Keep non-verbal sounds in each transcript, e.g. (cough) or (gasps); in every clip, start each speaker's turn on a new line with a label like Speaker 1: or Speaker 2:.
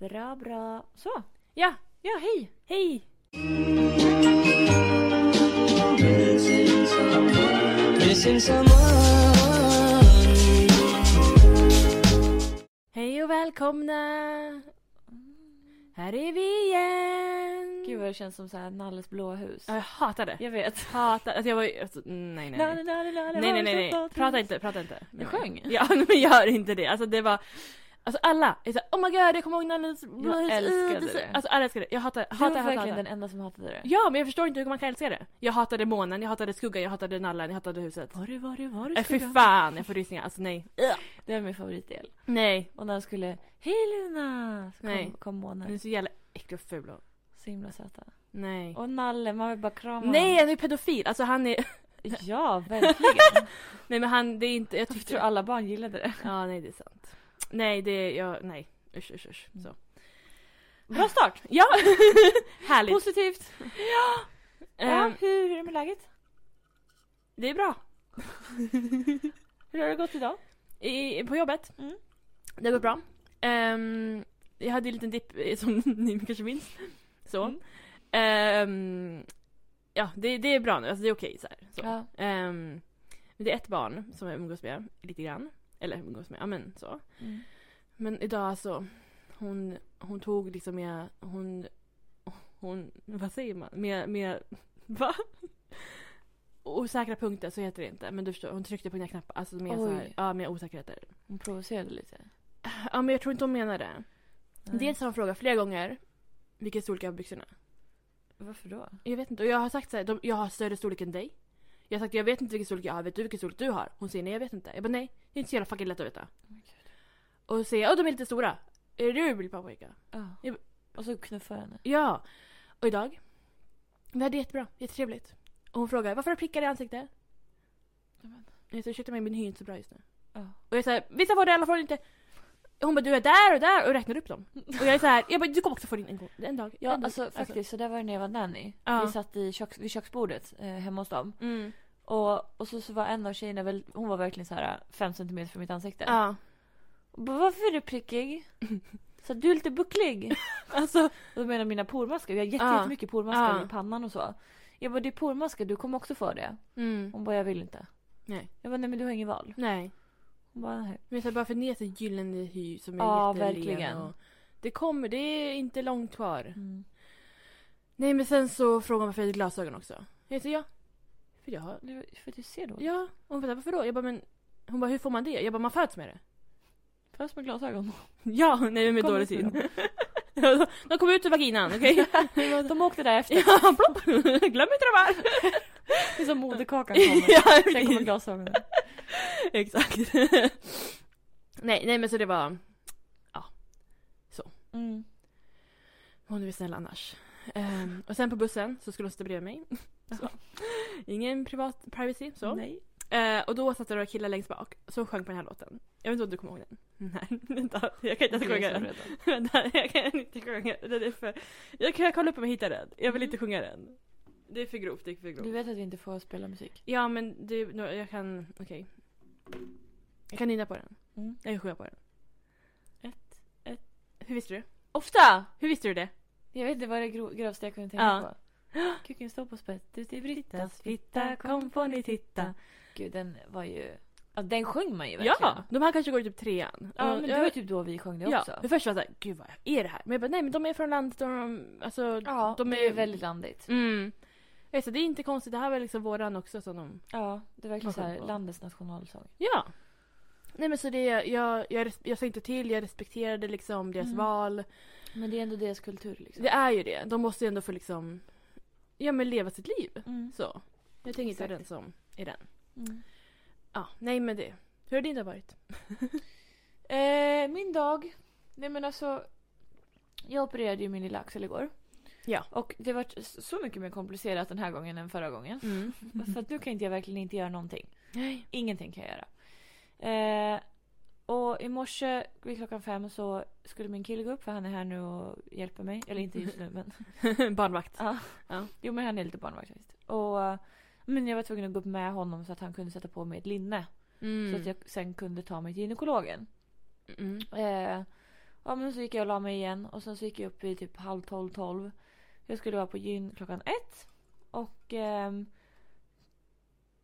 Speaker 1: Bra, bra. Så,
Speaker 2: Ja, ja hej!
Speaker 1: hej!
Speaker 3: Missing someone.
Speaker 2: Hej och välkomna! Här är vi igen!
Speaker 1: Gud vad det känns som så här Nalles blåhus.
Speaker 2: Ja, jag hatar det.
Speaker 1: Jag vet.
Speaker 2: Hatar, alltså jag var ju, alltså, nej nej nej. Nej nej nej, nej. prata inte, prata inte.
Speaker 1: Jag sjöng.
Speaker 2: Ja (laughs) men gör inte det, alltså det var Alltså alla är såhär oh my god jag kommer ihåg Nalles blåhus.
Speaker 1: älskade
Speaker 2: uh, är så-
Speaker 1: det.
Speaker 2: Alltså alla älskade det, jag hatar,
Speaker 1: Du var
Speaker 2: hatar, hatar,
Speaker 1: verkligen
Speaker 2: hatar.
Speaker 1: den enda som hatade det.
Speaker 2: Ja men jag förstår inte hur man kan älska det. Jag hatade månen, jag hatade skuggan, jag hatade nallen, jag hatade huset.
Speaker 1: Var det, var det, var det
Speaker 2: Äh, fy
Speaker 1: skugga?
Speaker 2: fan jag får rysningar, alltså nej.
Speaker 1: Det är min favoritdel.
Speaker 2: Nej.
Speaker 1: Och när han skulle Hej Luna! Så
Speaker 2: Nej.
Speaker 1: kom, kom
Speaker 2: Ni är
Speaker 1: månen.
Speaker 2: så jävla äcklig och ful och...
Speaker 1: Så himla söta.
Speaker 2: Nej.
Speaker 1: Och Nalle, man vill bara krama
Speaker 2: Nej han är pedofil, alltså han är... (laughs)
Speaker 1: honom. Ja, verkligen.
Speaker 2: Nej men han, det är inte, jag
Speaker 1: Jag
Speaker 2: tyckte...
Speaker 1: tror alla barn gillade det.
Speaker 2: Ja nej det är sant. Nej det är, jag, nej. Usch usch usch. Så.
Speaker 1: Bra start!
Speaker 2: Ja! (laughs) Härligt.
Speaker 1: Positivt! Ja,
Speaker 2: Ehm,
Speaker 1: hur, hur är det med läget?
Speaker 2: det är bra.
Speaker 1: Hur har det gått idag?
Speaker 2: I, på jobbet.
Speaker 1: Mm.
Speaker 2: Det går bra. Ehm, jag hade ju en liten dipp eh, som (laughs) ni kanske minns. Så.
Speaker 1: Mm.
Speaker 2: Ehm, ja det, det är bra nu, alltså det är okej så här. Så.
Speaker 1: Ja.
Speaker 2: Ehm, men det är ett barn som jag umgås med lite grann. Eller umgås med, ja men så.
Speaker 1: Mm.
Speaker 2: Men idag alltså, hon, hon tog liksom med, hon, hon, vad säger man? Med, med, (laughs) va? Osäkra punkter, så heter det inte. Men du förstår, hon tryckte på mina knappar. Alltså med, så här,
Speaker 1: Oj.
Speaker 2: ja, med osäkerheter.
Speaker 1: Hon provocerade lite.
Speaker 2: Ja men jag tror inte hon menar det. Dels har hon frågat flera gånger vilken storlek jag har på byxorna.
Speaker 1: Varför då?
Speaker 2: Jag vet inte, och jag har sagt så här, de, jag har större storlek än dig. Jag har sagt jag vet inte vilken storlek jag har, vet du vilken storlek du har? Hon säger nej jag vet inte. Jag bara nej, det är inte så jävla fucking lätt att veta.
Speaker 1: men gud.
Speaker 2: Och så säger jag, åh de är lite stora. Är du vill pappapojka?
Speaker 1: Ja.
Speaker 2: Jag-
Speaker 1: Och så knuffade henne.
Speaker 2: Ja. Och idag? Vi hade jättebra, jättetrevligt. Och hon frågar varför har du prickar i ansiktet?
Speaker 1: Nämen.
Speaker 2: Jag sa ursäkta mig min hy är inte så bra just nu.
Speaker 1: Ja.
Speaker 2: Och jag sa vissa får det, alla får det inte. Hon bara du är där och där och räknar upp dem. Och jag är så här, jag bara du kommer också få din en, gång, en dag.
Speaker 1: Ja,
Speaker 2: en dag.
Speaker 1: alltså faktiskt. Så där var det när jag var nanny.
Speaker 2: Ja.
Speaker 1: Vi satt i köks, vid köksbordet eh, hemma hos dem.
Speaker 2: Mm.
Speaker 1: Och, och så, så var en av tjejerna, väl, hon var verkligen så här eh, fem centimeter från mitt ansikte.
Speaker 2: Ja.
Speaker 1: Och bara, Varför är du
Speaker 2: (laughs)
Speaker 1: prickig? Så att du är lite bucklig.
Speaker 2: Alltså,
Speaker 1: Och då menar jag mina pormaskar. Jag har jätte,
Speaker 2: Ja.
Speaker 1: jättemycket pormaskar
Speaker 2: Ja.
Speaker 1: i pannan och så. Jag bara, det är pormaskar, du kommer också få det.
Speaker 2: mm.
Speaker 1: Hon bara, jag vill inte.
Speaker 2: Nej.
Speaker 1: Jag bara, nej men du har inget val.
Speaker 2: nej.
Speaker 1: Hon bara, nej.
Speaker 2: Men så här, bara för att ni är så gyllene hy som är
Speaker 1: Ja,
Speaker 2: jättelen
Speaker 1: verkligen.
Speaker 2: Och det kommer, det är inte långt kvar.
Speaker 1: Mm.
Speaker 2: Nej men sen så frågar hon varför jag hade glasögon också. Jag säger ja. För jag har
Speaker 1: Du, för att du ser då.
Speaker 2: Ja, och hon bara varför då? Jag bara men hon bara hur får man det? Jag bara man föds med det. (laughs)
Speaker 1: Först med glasögon.
Speaker 2: Ja, nej men
Speaker 1: Kom
Speaker 2: dålig
Speaker 1: ut med
Speaker 2: syn. (laughs) De kom ut ur vaginan,
Speaker 1: (laughs)
Speaker 2: okej?
Speaker 1: De åkte där efter.
Speaker 2: ja, plopp! (laughs) Glöm inte de här!
Speaker 1: Det är som moderkakan kommer.
Speaker 2: (laughs) ja,
Speaker 1: Sen kommer
Speaker 2: precis. (laughs)
Speaker 1: glasögonen.
Speaker 2: Exakt. (laughs) nej, nej men så det var,
Speaker 1: Mm.
Speaker 2: hon är väl snäll annars. Ehm, och sen på bussen så skulle hon sitta bredvid mig. Så. Ingen privat privacy så.
Speaker 1: Nej.
Speaker 2: Eh, och då satt det några killar längst bak som sjöng på den här låten. Jag vet inte om du kommer ihåg den? (laughs) Nej, vänta. Jag kan inte ens
Speaker 1: Jag är
Speaker 2: sjunga
Speaker 1: så
Speaker 2: den.
Speaker 1: rädd.
Speaker 2: (laughs) Vänta, jag kan inte sjunga den. är för... Jag kan kolla upp om jag hittar den. Jag vill
Speaker 1: Mm.
Speaker 2: inte sjunga den. Det är för grovt, det är för
Speaker 1: Du
Speaker 2: grovt.
Speaker 1: vet att vi inte får spela musik?
Speaker 2: Ja men det, no, jag kan, okej. Jag kan nynna på den.
Speaker 1: Mm.
Speaker 2: Jag kan sjunga på den. Ett, ett. Hur visste du?
Speaker 1: Ofta!
Speaker 2: Hur visste du (gasps) det?
Speaker 1: Jag vet inte vad det gro- grövsta jag kunde tänka på.
Speaker 2: Ja.
Speaker 1: Kuken står på spett ut i Brittas fitta, kom får ni titta. Gud, den var ju... Ja, den sjöng man ju verkligen.
Speaker 2: Ja! De här kanske går i typ trean.
Speaker 1: Ja,
Speaker 2: Och
Speaker 1: men
Speaker 2: jag-
Speaker 1: det var typ då vi sjöng det
Speaker 2: ja.
Speaker 1: också.
Speaker 2: Men först var jag såhär, gud vad är det här? Men jag bara, nej men de är från landet och de, alltså,
Speaker 1: Ja,
Speaker 2: de
Speaker 1: det är väldigt landigt.
Speaker 2: Mm. Jag sa, det är inte konstigt, det här var liksom våran också som de...
Speaker 1: Ja, det är verkligen
Speaker 2: Man
Speaker 1: så här,
Speaker 2: sjunger på.
Speaker 1: landets nationalsång.
Speaker 2: Ja. Nej men så det, jag, jag, res- jag sa inte till, jag respekterade liksom deras
Speaker 1: Mm.
Speaker 2: val.
Speaker 1: Men det är ändå deras kultur liksom.
Speaker 2: Det är ju det, de måste ju ändå få liksom, ja men leva sitt liv.
Speaker 1: Mm.
Speaker 2: Så. Jag tänker inte
Speaker 1: Exakt.
Speaker 2: den som är den.
Speaker 1: Mm.
Speaker 2: Ja, nej men det. Hur har din dag varit?
Speaker 1: Eh, min dag. Nej men alltså. Jag opererade ju min lilla axel igår.
Speaker 2: Ja.
Speaker 1: Och det var så mycket mer komplicerat den här gången än förra gången.
Speaker 2: Mm.
Speaker 1: För att nu kan inte jag verkligen inte göra någonting.
Speaker 2: Nej. (laughs)
Speaker 1: Ingenting kan jag göra. Eh, och i morse vid klockan fem så skulle min kille gå upp för han är här nu och hjälper mig. Eller inte just nu
Speaker 2: (laughs)
Speaker 1: men.
Speaker 2: Barnvakt.
Speaker 1: Ja.
Speaker 2: Ja.
Speaker 1: Jo men han är lite barnvakt faktiskt. Och eh, men jag var tvungen att gå upp med honom så att han kunde sätta på mig ett linne.
Speaker 2: Mm.
Speaker 1: Så att jag sen kunde ta mig till gynekologen.
Speaker 2: Mm.
Speaker 1: Eh, och Ja men så gick jag och la mig igen och sen så gick jag upp i typ halv tolv, tolv. Jag skulle vara på gyn klockan ett. Och ehm,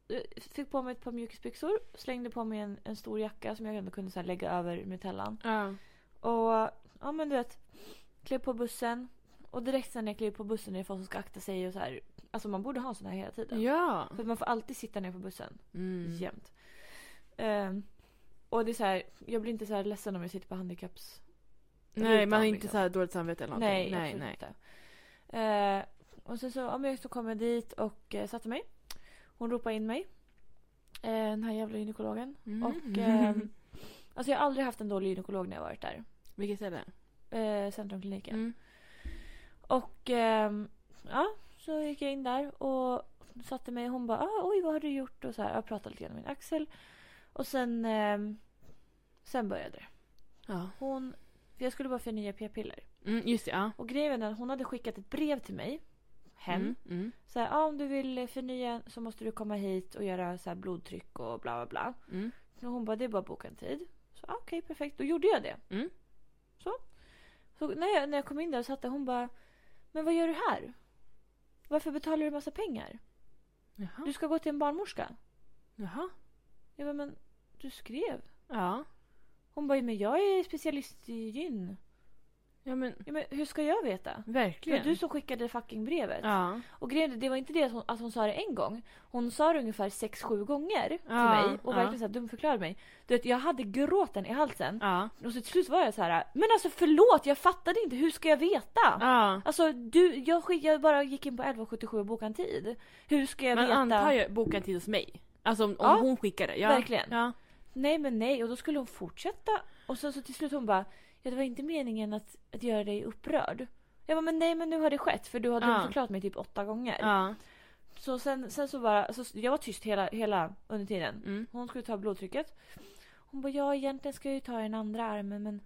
Speaker 1: eh, fick på mig ett par mjukisbyxor. Slängde på mig en, en stor jacka som jag ändå kunde så här lägga över metellan.
Speaker 2: Ja.
Speaker 1: Och ja men du vet. Klev på bussen. Och direkt sen när jag klev på bussen är det folk som ska akta sig och så här. Alltså man borde ha en sån här hela tiden.
Speaker 2: Ja.
Speaker 1: För att man får alltid sitta ner på bussen.
Speaker 2: Mm.
Speaker 1: Jämt. Ehm, och det är så här, jag blir inte så här ledsen om jag sitter på handikapps
Speaker 2: Nej, man
Speaker 1: Rutan,
Speaker 2: har inte
Speaker 1: liksom.
Speaker 2: så här dåligt samvete eller
Speaker 1: Nej,
Speaker 2: någonting.
Speaker 1: absolut inte. Eh, och sen så, ja, men jag så kom jag dit och eh, satte mig. Hon ropade in mig. Eh, den här jävla gynekologen.
Speaker 2: Mm. (laughs)
Speaker 1: Och, ehm, (laughs) Alltså jag har aldrig haft en dålig gynekolog när jag varit där.
Speaker 2: Vilket ställe?
Speaker 1: Eh, Centrumkliniken.
Speaker 2: Mm.
Speaker 1: Och ehm, ja, så gick jag in där och satte mig. Hon bara ah, oj vad har du gjort? Och så här, jag pratade lite grann om min axel. Och sen, ehm, sen började det.
Speaker 2: Ja.
Speaker 1: Hon, för jag skulle bara förnya p-piller.
Speaker 2: Mm, just det, ja.
Speaker 1: Och grejen är att hon hade skickat ett brev till mig. Hem.
Speaker 2: Mm. Mm.
Speaker 1: Så här, ah, om du vill förnya så måste du komma hit och göra så här blodtryck och bla bla bla.
Speaker 2: Mm.
Speaker 1: Och hon bara, det är bara att boka en tid. Så ah, okej, perfekt. Då gjorde jag det.
Speaker 2: Mm.
Speaker 1: Så. Så när jag, när jag kom in där och satt där, hon bara, men vad gör du här? Varför betalar du massa pengar? Du
Speaker 2: Jaha.
Speaker 1: ska gå till en barnmorska.
Speaker 2: Jaha.
Speaker 1: Jag bara, men du skrev.
Speaker 2: Ja.
Speaker 1: Hon bara, men jag är specialist i gyn.
Speaker 2: Ja men
Speaker 1: Ja, men hur ska jag veta? Det var
Speaker 2: verkligen.
Speaker 1: du som skickade fucking brevet.
Speaker 2: Ja.
Speaker 1: Och grejen är, det var inte det att hon, att hon sa det en gång. Hon sa det ungefär sex sju gånger till
Speaker 2: Ja,
Speaker 1: mig och
Speaker 2: ja.
Speaker 1: verkligen så här dumförklarade mig. Du vet, jag hade gråten i halsen.
Speaker 2: Ja.
Speaker 1: Och så till slut var jag så här, men alltså förlåt jag fattade inte, hur ska jag veta?
Speaker 2: Ja.
Speaker 1: Alltså du, jag, skick, jag bara gick in på 1177 och bokade en tid. Hur ska jag
Speaker 2: Man
Speaker 1: veta?
Speaker 2: antar ju boka en tid hos mig. Alltså om, om
Speaker 1: Ja.
Speaker 2: hon skickar det. Ja.
Speaker 1: Verkligen.
Speaker 2: Ja.
Speaker 1: Nej men nej, och då skulle hon fortsätta. Och sen så till slut hon bara, ja det var inte meningen att, att göra dig upprörd. Jag bara, men nej men nu har det skett för du har
Speaker 2: Ja.
Speaker 1: dumförklarat mig typ åtta gånger.
Speaker 2: Ja.
Speaker 1: Så sen, sen så bara, alltså, jag var tyst hela, hela under tiden.
Speaker 2: Mm.
Speaker 1: Hon skulle ta blodtrycket. Hon bara, ja egentligen ska jag ju ta den andra armen men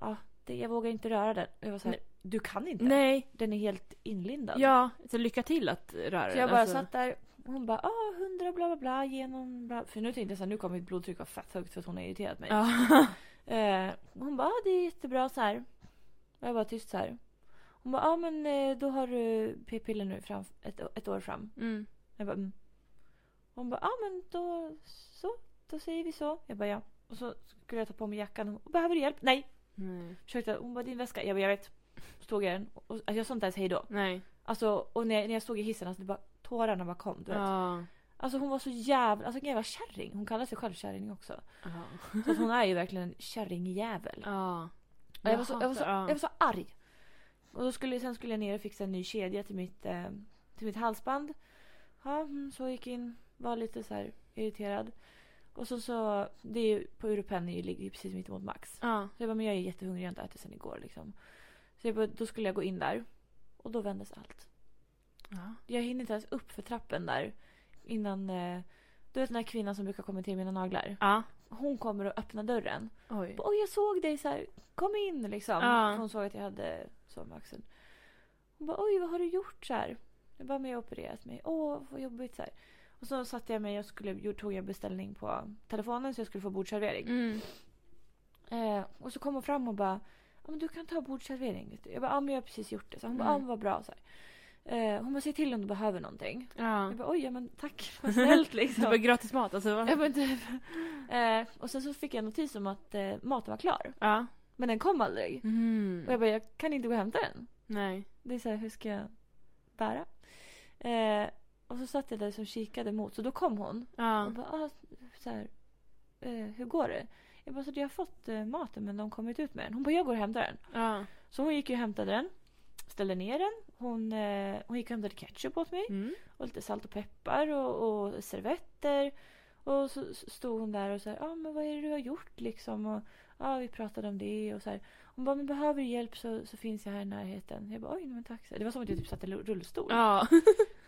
Speaker 1: ja, det, jag vågar inte röra den. Jag var så här, du kan inte.
Speaker 2: Nej.
Speaker 1: Den är helt inlindad.
Speaker 2: Ja. Så lycka till att röra
Speaker 1: Så jag
Speaker 2: den,
Speaker 1: bara
Speaker 2: alltså.
Speaker 1: satt där och hon bara, ah 100 bla bla bla genom bla. För nu tänkte jag så här, nu kommer mitt blodtryck vara fett högt för att hon har irriterat mig. (laughs)
Speaker 2: Ja.
Speaker 1: Eh, hon bara, ah, det är jättebra så här. Och jag bara tyst så här. Hon bara, ah men eh, då har du p-piller nu fram, ett, ett år fram.
Speaker 2: Mm.
Speaker 1: Jag bara, mm. Hon bara, ja ah, men då så, då säger vi så. Jag bara, ja. Och så skulle jag ta på mig jackan. Hon bara, behöver du hjälp? Nej.
Speaker 2: Nej.
Speaker 1: Försökte, hon bara, din väska. Jag bara, jag vet. Så tog jag den. Och, alltså, jag sa inte ens hej då.
Speaker 2: Nej.
Speaker 1: Alltså, och när jag, när jag stod i hissen, alltså, det bara, tårarna bara kom. Du vet.
Speaker 2: Ja.
Speaker 1: Alltså hon var så jävla, alltså en jävla kärring. Hon kallar sig själv kärring också.
Speaker 2: Ja.
Speaker 1: Så att hon är ju verkligen en kärringjävel.
Speaker 2: Ja.
Speaker 1: Och Jag var, så, jag, var så,
Speaker 2: hatar-
Speaker 1: jag var så arg. Och då skulle, sen skulle jag ner och fixa en ny kedja till mitt, eh, till mitt halsband. Ja, mm, så gick jag in. Var lite så här irriterad. Och så, så det är ju, på Europen är ju- ligger ju precis mitt emot Max.
Speaker 2: Ja.
Speaker 1: Så jag bara, men jag är jättehungrig, jag har inte ätit sen igår liksom. Så jag bara, då skulle jag gå in där. Och då vändes allt.
Speaker 2: Ja.
Speaker 1: Jag hinner inte ens upp för trappen där. Innan, eh, du vet den här kvinnan som brukar kommentera mina naglar.
Speaker 2: Ja.
Speaker 1: Hon kommer och öppnar dörren.
Speaker 2: Oj.
Speaker 1: Och jag såg dig så här, kom in liksom.
Speaker 2: Ja.
Speaker 1: För Hon såg att jag hade så med axeln. Hon bara, oj vad har du gjort så här? Jag bara, men jag har opererat mig. Åh, vad jobbigt så här. Och så satte jag mig och skulle, tog jag en beställning på telefonen så jag skulle få bordservering.
Speaker 2: Mm.
Speaker 1: Eh, och så kom hon fram och bara, ja men du kan ta bordservering. vet du. Jag bara, ja men jag har precis gjort det. Så hon bara, ja
Speaker 2: Mm.
Speaker 1: men vad bra så här. Eh, hon bara, se till om du behöver någonting.
Speaker 2: Ja.
Speaker 1: Jag bara, oj ja men tack, vad snällt
Speaker 2: (laughs) Det var
Speaker 1: liksom.
Speaker 2: gratis mat alltså.
Speaker 1: Ja,
Speaker 2: va?
Speaker 1: men typ. eh, och sen så fick jag en notis om att eh, maten var klar.
Speaker 2: Ja.
Speaker 1: Men den kom aldrig.
Speaker 2: Mm.
Speaker 1: Och jag bara, jag kan inte gå och hämta den.
Speaker 2: Nej.
Speaker 1: Det är så här, hur ska jag bära? Eh, och så satt jag där som kikade mot. Så då kom hon.
Speaker 2: Ja.
Speaker 1: Och bara, ah, så här, eh, hur går det? Jag bara, så jag har fått eh, maten men de har kommit ut med den. Hon bara, jag går och hämtar den.
Speaker 2: Ja.
Speaker 1: Så hon gick ju och hämtade den. Ställde ner den. Hon, eh, hon gick och hämtade ketchup åt mig.
Speaker 2: Mm.
Speaker 1: Och lite salt och peppar och, och servetter. Och så s- stod hon där och så här, ja ah, men vad är det du har gjort liksom? Och ja, vi pratade om det och så här. Hon bara, men behöver du hjälp så, så finns jag här i närheten. Jag bara, oj men tack. Så här, Det var som att jag typ satt i lu- rullstol.
Speaker 2: Ja. (laughs)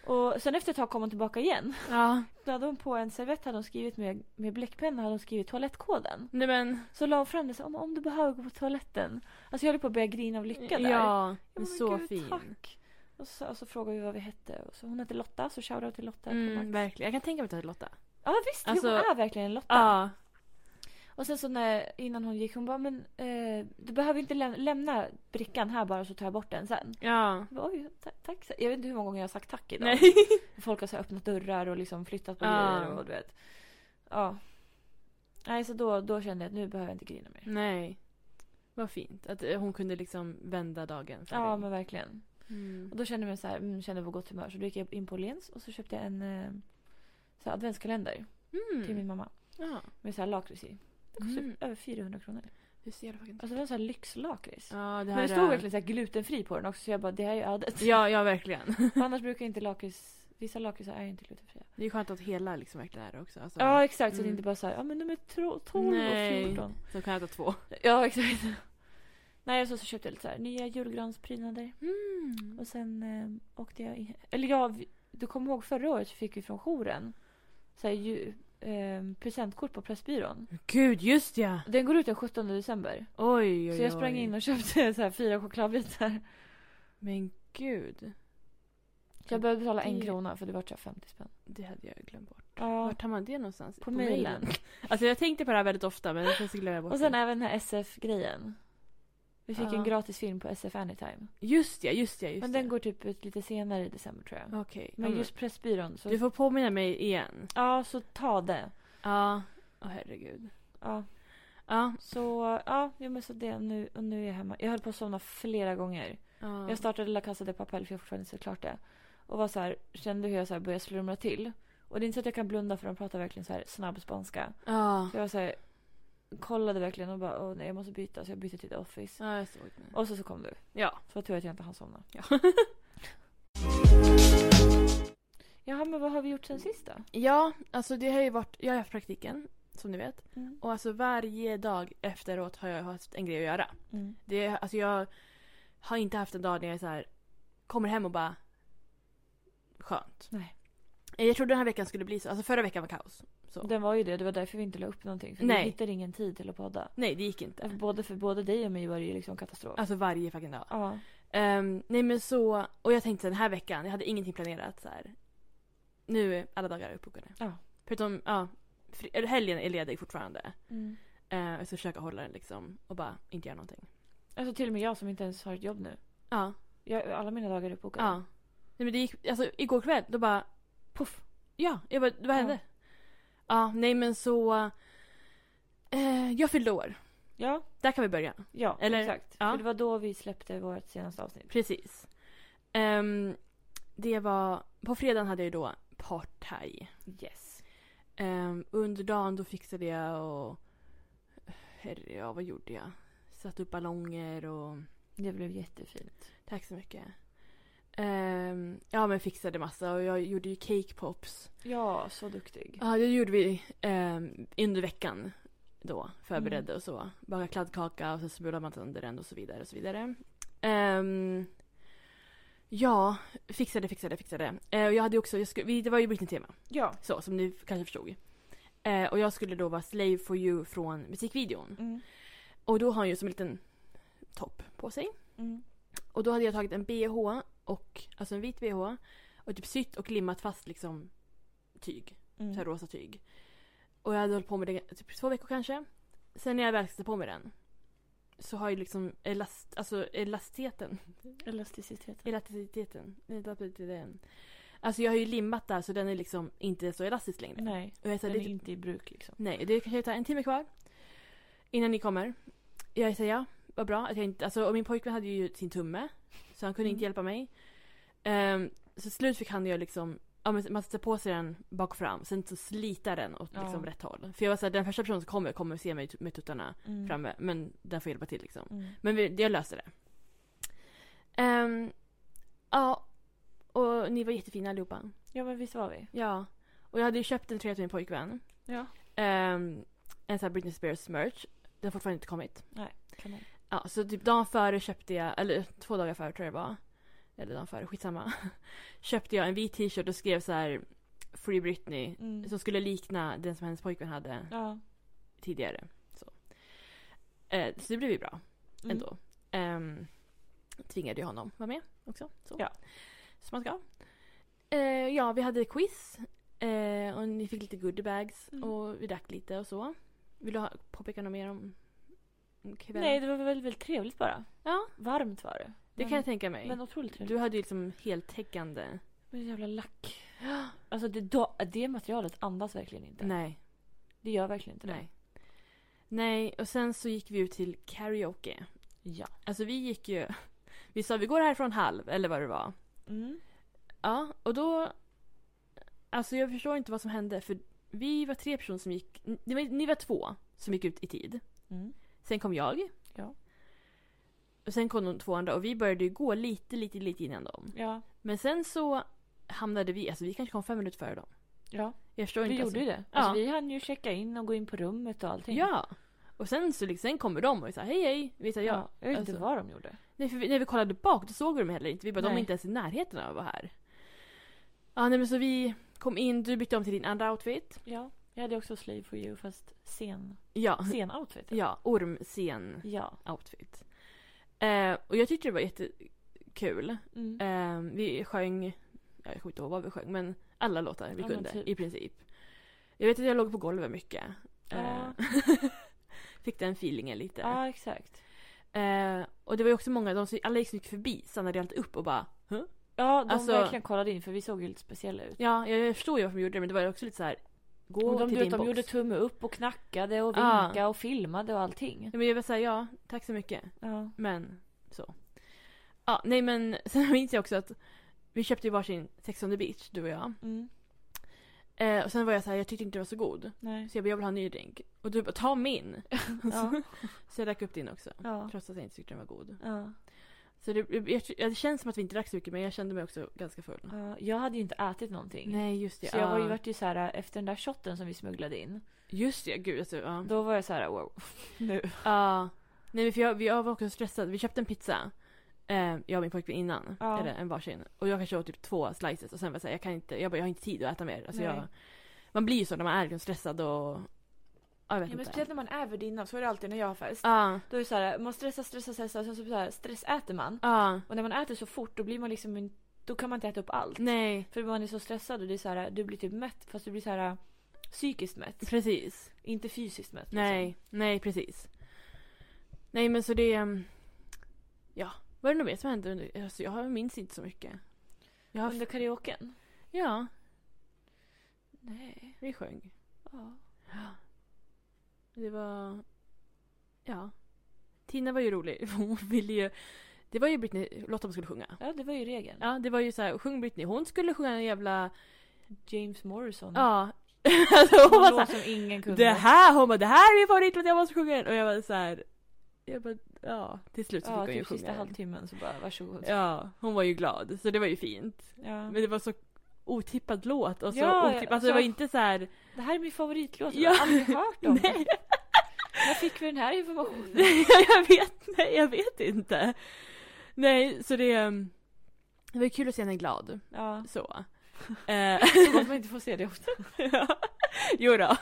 Speaker 1: Och sen efter ett tag kom hon tillbaka igen.
Speaker 2: Ja.
Speaker 1: Då hade hon på en servett hade hon skrivit med, med bläckpenna hade hon skrivit toalettkoden.
Speaker 2: Nej men.
Speaker 1: Så la hon fram det så här, om, om du behöver gå på toaletten. Alltså jag höll på att börja grina av lycka där.
Speaker 2: Ja.
Speaker 1: Jag bara,
Speaker 2: Men
Speaker 1: "Men
Speaker 2: så
Speaker 1: gud,
Speaker 2: fin.
Speaker 1: Tack. Och så, och så frågade vi vad vi hette. Och så, hon hette Lotta, så shoutout till Lotta. på
Speaker 2: Mm,
Speaker 1: Max.
Speaker 2: verkligen. Jag kan tänka mig att det är Lotta.
Speaker 1: Ja visst,
Speaker 2: Alltså-
Speaker 1: hon är verkligen en Lotta.
Speaker 2: Ja.
Speaker 1: Och sen så när, innan hon gick, hon bara men eh, du behöver inte läm- lämna brickan här bara så tar jag bort den sen.
Speaker 2: Ja.
Speaker 1: Jag bara, Oj, ta- tack. så- Jag vet inte hur många gånger jag har sagt tack idag.
Speaker 2: Nej.
Speaker 1: (laughs) Folk har så här öppnat dörrar och liksom flyttat på
Speaker 2: Ja.
Speaker 1: grejer och du vet. Ja. Nej så då, då kände jag att nu behöver jag inte grina mer.
Speaker 2: (laughs) Nej. Vad fint att eh, hon kunde liksom vända dagen för
Speaker 1: Ja
Speaker 2: dig.
Speaker 1: men verkligen.
Speaker 2: Mm.
Speaker 1: Och då kände jag mig så här, mm, kände på gott humör. Så då gick jag in på Åhléns och så köpte jag en eh, så här adventskalender till min
Speaker 2: Mm.
Speaker 1: mamma.
Speaker 2: Ja.
Speaker 1: Med så här lakrits i. Det kostade
Speaker 2: Mm.
Speaker 1: över 400 kronor.
Speaker 2: Hur ser det faktiskt
Speaker 1: Alltså det var en sån här lyxlakrits.
Speaker 2: Ja, det här
Speaker 1: Men det stod
Speaker 2: är-
Speaker 1: verkligen så här eh, glutenfri på den också så jag bara det här är ju ödet.
Speaker 2: Ja, ja verkligen. (laughs)
Speaker 1: För (laughs) Annars brukar inte lakrits, vissa lakritsar är inte glutenfria.
Speaker 2: Det är skönt att hela liksom verkligen är det också. Alltså,
Speaker 1: Ja exakt så det
Speaker 2: Mm.
Speaker 1: inte bara såhär, ja men de är tro- 12
Speaker 2: Nej.
Speaker 1: och 14.
Speaker 2: Så kan jag ta två.
Speaker 1: Ja exakt. (laughs) Nej och så, så köpte jag lite så här, nya julgransprydnader.
Speaker 2: Mm.
Speaker 1: Och sen eh, åkte jag in, Eller ja, vi- du kommer ihåg förra året så fick vi från jouren så här, ju, eh, presentkort på Pressbyrån.
Speaker 2: Gud, just ja!
Speaker 1: Den går ut den 17 december.
Speaker 2: Oj, oj,
Speaker 1: Så jag sprang
Speaker 2: oj.
Speaker 1: in och köpte (laughs) så här, fyra chokladbitar.
Speaker 2: Men gud.
Speaker 1: Så jag behövde betala en
Speaker 2: Det-
Speaker 1: krona för det var så här 50 spänn.
Speaker 2: Det hade jag glömt bort.
Speaker 1: Ja,
Speaker 2: Vart tar man det någonstans?
Speaker 1: på mejlen.
Speaker 2: Alltså jag tänkte på det här väldigt ofta men sen så glömde jag bort
Speaker 1: Och sen
Speaker 2: det.
Speaker 1: även den här SF-grejen. Vi fick
Speaker 2: Ja.
Speaker 1: en gratis film på SF Anytime.
Speaker 2: Just ja, just ja, just
Speaker 1: Men
Speaker 2: ja.
Speaker 1: den går typ ut lite senare i december tror jag.
Speaker 2: Okej. Ja,
Speaker 1: Men just Pressbyrån så...
Speaker 2: Du får påminna mig igen.
Speaker 1: Ja, så ta det.
Speaker 2: Ja. Åh herregud.
Speaker 1: Ja,
Speaker 2: Ja.
Speaker 1: så ja, jag måste det nu och nu är jag hemma. Jag höll på att somna flera gånger.
Speaker 2: ja.
Speaker 1: Jag startade La Casa de Papel för jag har fortfarande inte sett klart det. Och var så här, kände hur jag så här började slumra till. Och det är inte så att jag kan blunda för de pratar verkligen så här snabb spanska.
Speaker 2: Ja.
Speaker 1: Så jag var så här, kollade verkligen och bara åh nej jag måste byta så jag bytte till The Office.
Speaker 2: Ja, jag såg det.
Speaker 1: Och så, så kom du.
Speaker 2: Ja.
Speaker 1: Så tur att jag inte hann somna.
Speaker 2: Ja. (laughs)
Speaker 1: Jaha men vad har vi gjort sen
Speaker 2: Mm.
Speaker 1: sist då?
Speaker 2: ja, alltså det har ju varit, jag har haft praktiken som ni vet.
Speaker 1: Mm.
Speaker 2: Och alltså varje dag efteråt har jag haft en grej att göra. Det, alltså jag har inte haft en dag när jag är så här, kommer hem och bara skönt.
Speaker 1: Nej.
Speaker 2: Jag trodde den här veckan skulle bli så. Alltså förra veckan var kaos. Så.
Speaker 1: Den var ju det, det var därför vi inte la upp någonting. För
Speaker 2: Nej.
Speaker 1: vi hittade ingen tid till att podda. Äh,
Speaker 2: Nej, det gick inte.
Speaker 1: Både för både dig och mig var det ju liksom katastrof.
Speaker 2: Alltså varje fucking dag.
Speaker 1: Ja.
Speaker 2: Ehm, nej men så, och jag tänkte så här, den här veckan, jag hade ingenting planerat så här. Nu är alla dagar uppbokade.
Speaker 1: Ja.
Speaker 2: Förutom, ja, fri, eller helgen är ledig fortfarande.
Speaker 1: Mm.
Speaker 2: Ehm, jag ska försöka hålla den liksom och bara inte göra någonting.
Speaker 1: Alltså till och med jag som inte ens har ett jobb nu.
Speaker 2: Ja,
Speaker 1: Jag, alla mina dagar är uppbokade.
Speaker 2: ja. Nej men det gick, alltså igår kväll då bara, poff. Ja, jag bara, vad hände? Ja, nej men så. eh, jag fyllde år.
Speaker 1: Ja,
Speaker 2: Där kan vi börja.
Speaker 1: ja
Speaker 2: Eller-
Speaker 1: exakt.
Speaker 2: ja.
Speaker 1: För det var då vi släppte vårt senaste avsnitt.
Speaker 2: Precis. Ehm, det var, på fredagen hade jag ju då partaj.
Speaker 1: Yes.
Speaker 2: Ehm, under dagen då fixade jag och... Herre, ja, vad gjorde jag? Satte upp ballonger och...
Speaker 1: Det blev jättefint.
Speaker 2: Tack så mycket. Ehm, ja, men fixade massa och jag gjorde ju cake pops.
Speaker 1: Ja, så duktig.
Speaker 2: Ja, det gjorde vi ehm, under veckan då. Förberedde och så. Bakade kladdkaka och sen smulade man sönder den och så vidare och så vidare. Ehm, ja, fixade, fixade, fixade. Eh, och jag hade ju också, jag skulle, vi, det var ju Britney-tema.
Speaker 1: Ja.
Speaker 2: Så, som ni kanske förstod. Eh, och jag skulle då vara Slave for you från musikvideon.
Speaker 1: Mm.
Speaker 2: Och då har han ju som en liten topp på sig.
Speaker 1: Mm.
Speaker 2: Och då hade jag tagit en bh, och, alltså en vit bh, och typ sytt och limmat fast liksom tyg.
Speaker 1: Mm.
Speaker 2: Så här rosa tyg. Och jag hade hållit på med det typ två veckor kanske. Sen när jag väl satte på mig den så har ju liksom elast, alltså elastiteten,
Speaker 1: Elasticiteten.
Speaker 2: elastiteten, elastiteten. Alltså jag har ju limmat där så den är liksom inte så elastisk längre.
Speaker 1: Nej,
Speaker 2: Och jag är så här
Speaker 1: den är
Speaker 2: lite
Speaker 1: inte i bruk liksom.
Speaker 2: Nej, det kanske tar en timme kvar. Innan ni kommer. Jag säger ja, vad bra. Att jag inte, alltså, och min pojkvän hade ju sin tumme. Så han kunde
Speaker 1: Mm.
Speaker 2: inte hjälpa mig. Ehm, så till slut fick han ju liksom, ja, men man sätter på sig den bak och fram. Sen så slita den åt
Speaker 1: Ja.
Speaker 2: liksom, rätt håll. För jag var såhär, den första personen som kommer kommer se mig tut- med tuttarna
Speaker 1: Mm.
Speaker 2: framme. Men den får hjälpa till liksom.
Speaker 1: Mm.
Speaker 2: Men vi, jag löste det. Ehm, ja, och ni var jättefina allihopa.
Speaker 1: Ja men visst var vi?
Speaker 2: Ja. Och jag hade ju köpt en tröja till min pojkvän.
Speaker 1: Ja.
Speaker 2: Ehm, en sån här Britney Spears merch. Den har fortfarande inte kommit.
Speaker 1: Kanon.
Speaker 2: Ja, så typ dagen före köpte jag, eller två dagar före tror jag det var. Eller dagen före, skitsamma. (laughs) köpte jag en vit t-shirt och skrev så här Free Britney.
Speaker 1: Mm.
Speaker 2: Som skulle likna den som hennes pojkvän hade
Speaker 1: Ja.
Speaker 2: tidigare. Så, Eh, så det blev ju bra
Speaker 1: Mm.
Speaker 2: ändå. Ehm, tvingade ju honom vara med också. Så.
Speaker 1: Ja.
Speaker 2: Som man ska. Eh, ja, vi hade quiz. Eh, och ni fick lite goodiebags
Speaker 1: Mm.
Speaker 2: och vi drack lite och så. Vill du ha, påpeka något mer om om kvällen?
Speaker 1: Nej, det var väl, väl trevligt bara.
Speaker 2: Ja,
Speaker 1: Varmt var det.
Speaker 2: det
Speaker 1: men,
Speaker 2: kan jag tänka mig.
Speaker 1: Men otroligt trevligt.
Speaker 2: du hade ju liksom
Speaker 1: (gasps)
Speaker 2: heltäckande.
Speaker 1: Men jävla lack. Alltså det, då- det materialet andas verkligen inte.
Speaker 2: Nej,
Speaker 1: Det gör verkligen inte
Speaker 2: nej. Nej, och sen så gick vi ut till karaoke.
Speaker 1: det. Ja.
Speaker 2: Alltså vi gick ju... (laughs) Vi sa vi går härifrån halv, eller vad det var.
Speaker 1: Mm.
Speaker 2: Ja, och då... Alltså jag förstår inte vad som hände för vi var tre personer som gick... Ni var, ni var två som gick ut i tid.
Speaker 1: Mm.
Speaker 2: Sen kom jag.
Speaker 1: Ja.
Speaker 2: Och sen kom de två andra och vi började ju gå lite, lite, lite innan dem.
Speaker 1: Ja.
Speaker 2: Men sen så hamnade vi, alltså vi kanske kom fem minuter före dem.
Speaker 1: ja.
Speaker 2: Jag förstår
Speaker 1: Vi
Speaker 2: inte.
Speaker 1: gjorde ju det.
Speaker 2: Ja.
Speaker 1: Alltså, vi hann ju checka in och gå in på rummet och allting.
Speaker 2: Ja. Och sen så liksom, sen kommer de och sa hej hej. Vi sa ja.
Speaker 1: ja. Jag vet inte
Speaker 2: alltså.
Speaker 1: vad de gjorde.
Speaker 2: Nej, för vi, när vi kollade bak då såg vi dem heller inte. Vi bara, de är
Speaker 1: Nej.
Speaker 2: inte ens i närheten av att vara här. Ja, nej men så vi kom in, du bytte om till din andra outfit.
Speaker 1: Ja. Jag hade också slave for you fast
Speaker 2: (laughs)
Speaker 1: sen,
Speaker 2: Ja.
Speaker 1: sen outfit.
Speaker 2: Ja, ormscen
Speaker 1: Ja.
Speaker 2: outfit. Eh, och jag tyckte det var jättekul.
Speaker 1: Mm.
Speaker 2: Eh, vi sjöng, ja, jag kommer inte ihåg vad vi sjöng, men alla låtar vi
Speaker 1: Ja, men
Speaker 2: kunde
Speaker 1: typ.
Speaker 2: i princip. Jag vet att jag låg på golvet mycket.
Speaker 1: Ja.
Speaker 2: Eh, (laughs) fick den feelingen lite.
Speaker 1: ja, exakt.
Speaker 2: Eh, och det var ju också många, de, som- alla gick så mycket förbi, stannade alltid upp och bara "Huh?"
Speaker 1: Ja, de
Speaker 2: Alltså-
Speaker 1: verkligen kollade in för vi såg ju lite speciella ut.
Speaker 2: Ja, jag, jag förstod ju varför de gjorde det men det var ju också lite så här. gå
Speaker 1: Och de,
Speaker 2: till
Speaker 1: du vet,
Speaker 2: din
Speaker 1: de
Speaker 2: box.
Speaker 1: gjorde tumme upp och knackade och
Speaker 2: Ja.
Speaker 1: vinkade och filmade och allting.
Speaker 2: Ja, men jag var såhär, ja, tack så mycket.
Speaker 1: Ja.
Speaker 2: Men så. Ja, nej men (laughs) sen minns jag också att vi köpte ju varsin Sex on the beach, du och jag.
Speaker 1: Mm.
Speaker 2: Eh, och sen var jag så här, jag tyckte inte det var så god. (laughs)
Speaker 1: Nej.
Speaker 2: Så jag bara, jag vill ha en ny drink. Och du bara, ta (laughs) min! Alltså.
Speaker 1: Ja.
Speaker 2: Så jag drack upp din också.
Speaker 1: Ja.
Speaker 2: Trots att jag inte tyckte den var god.
Speaker 1: Ja.
Speaker 2: Så det, jag, jag, det känns som att vi inte drack så mycket men jag kände mig också ganska full.
Speaker 1: ja. Jag hade ju inte ätit någonting.
Speaker 2: Nej just det.
Speaker 1: Så jag var ju
Speaker 2: ja. Mm.
Speaker 1: vart ju så här efter den där shotten som vi smugglade in.
Speaker 2: Just det, gud alltså. Ja.
Speaker 1: Då var jag så här
Speaker 2: (laughs)
Speaker 1: wow. Nu.
Speaker 2: Ja. nej men för jag, jag var också stressad. Vi köpte en pizza. Eh, jag och min pojkvän innan.
Speaker 1: Ja.
Speaker 2: Eller en varsin. Och jag kanske åt typ två slices och sen var jag såhär, jag kan inte, jag bara, jag har inte tid att äta mer. Alltså
Speaker 1: Nej.
Speaker 2: jag, man blir ju så när man är liksom stressad och... Ja, jag vet
Speaker 1: Ja, men
Speaker 2: inte.
Speaker 1: speciellt när man är värdinna så är det alltid när jag har fest.
Speaker 2: Ja,
Speaker 1: Då är det så här, man stressar, stressar, stressar och sen så, så här, stressäter man.
Speaker 2: ja,
Speaker 1: Och när man äter så fort då blir man liksom, en- då kan man inte äta upp allt.
Speaker 2: nej.
Speaker 1: För man är så stressad och det är så här, du blir typ mätt fast du blir så här psykiskt mätt.
Speaker 2: (laughs) Precis.
Speaker 1: Inte fysiskt mätt. liksom.
Speaker 2: Nej, nej precis. Nej men så det... ehm, Ja, var det något mer som hände under... Alltså, jag minns inte så mycket. Jag har,
Speaker 1: Under karaoken?
Speaker 2: ja,
Speaker 1: Nej.
Speaker 2: vi sjöng.
Speaker 1: Ja.
Speaker 2: (gasps) Det var... Ja. Tina var ju rolig. (laughs) Hon ville ju... Det var ju Britney... Lotta skulle sjunga.
Speaker 1: ja, det var ju regeln.
Speaker 2: Ja, det var ju så här, sjung Britney. Hon skulle sjunga en
Speaker 1: Mm.
Speaker 2: jävla...
Speaker 1: James Morrison.
Speaker 2: Ja. (laughs) alltså hon
Speaker 1: Hon
Speaker 2: var
Speaker 1: låt
Speaker 2: så
Speaker 1: som ingen
Speaker 2: här,
Speaker 1: kunde.
Speaker 2: Det här! Hon bara, det här är min favoritlåt, jag måste sjunga den! Och jag var så här... Jag bara, ja. Till slut så
Speaker 1: ja,
Speaker 2: fick hon ju
Speaker 1: typ sista
Speaker 2: sjunga den.
Speaker 1: halvtimmen så bara varsågod.
Speaker 2: Ja, hon var ju glad. Så det var ju fint.
Speaker 1: Ja.
Speaker 2: Men det var så otippad låt och så
Speaker 1: Ja,
Speaker 2: otippad... Alltså det var
Speaker 1: alltså-
Speaker 2: inte så här...
Speaker 1: Det här är min favoritlåt,
Speaker 2: Ja.
Speaker 1: jag har aldrig hört
Speaker 2: (laughs)
Speaker 1: om
Speaker 2: Nej.
Speaker 1: den. När fick vi den här informationen?
Speaker 2: Nej, (laughs) jag vet, nej, jag vet inte. Nej, så det... ehm, Det var ju kul att se henne glad.
Speaker 1: Ja.
Speaker 2: Så.
Speaker 1: (laughs)
Speaker 2: Eh,
Speaker 1: Så gott man inte får se det ofta.
Speaker 2: (laughs) ja. jo då.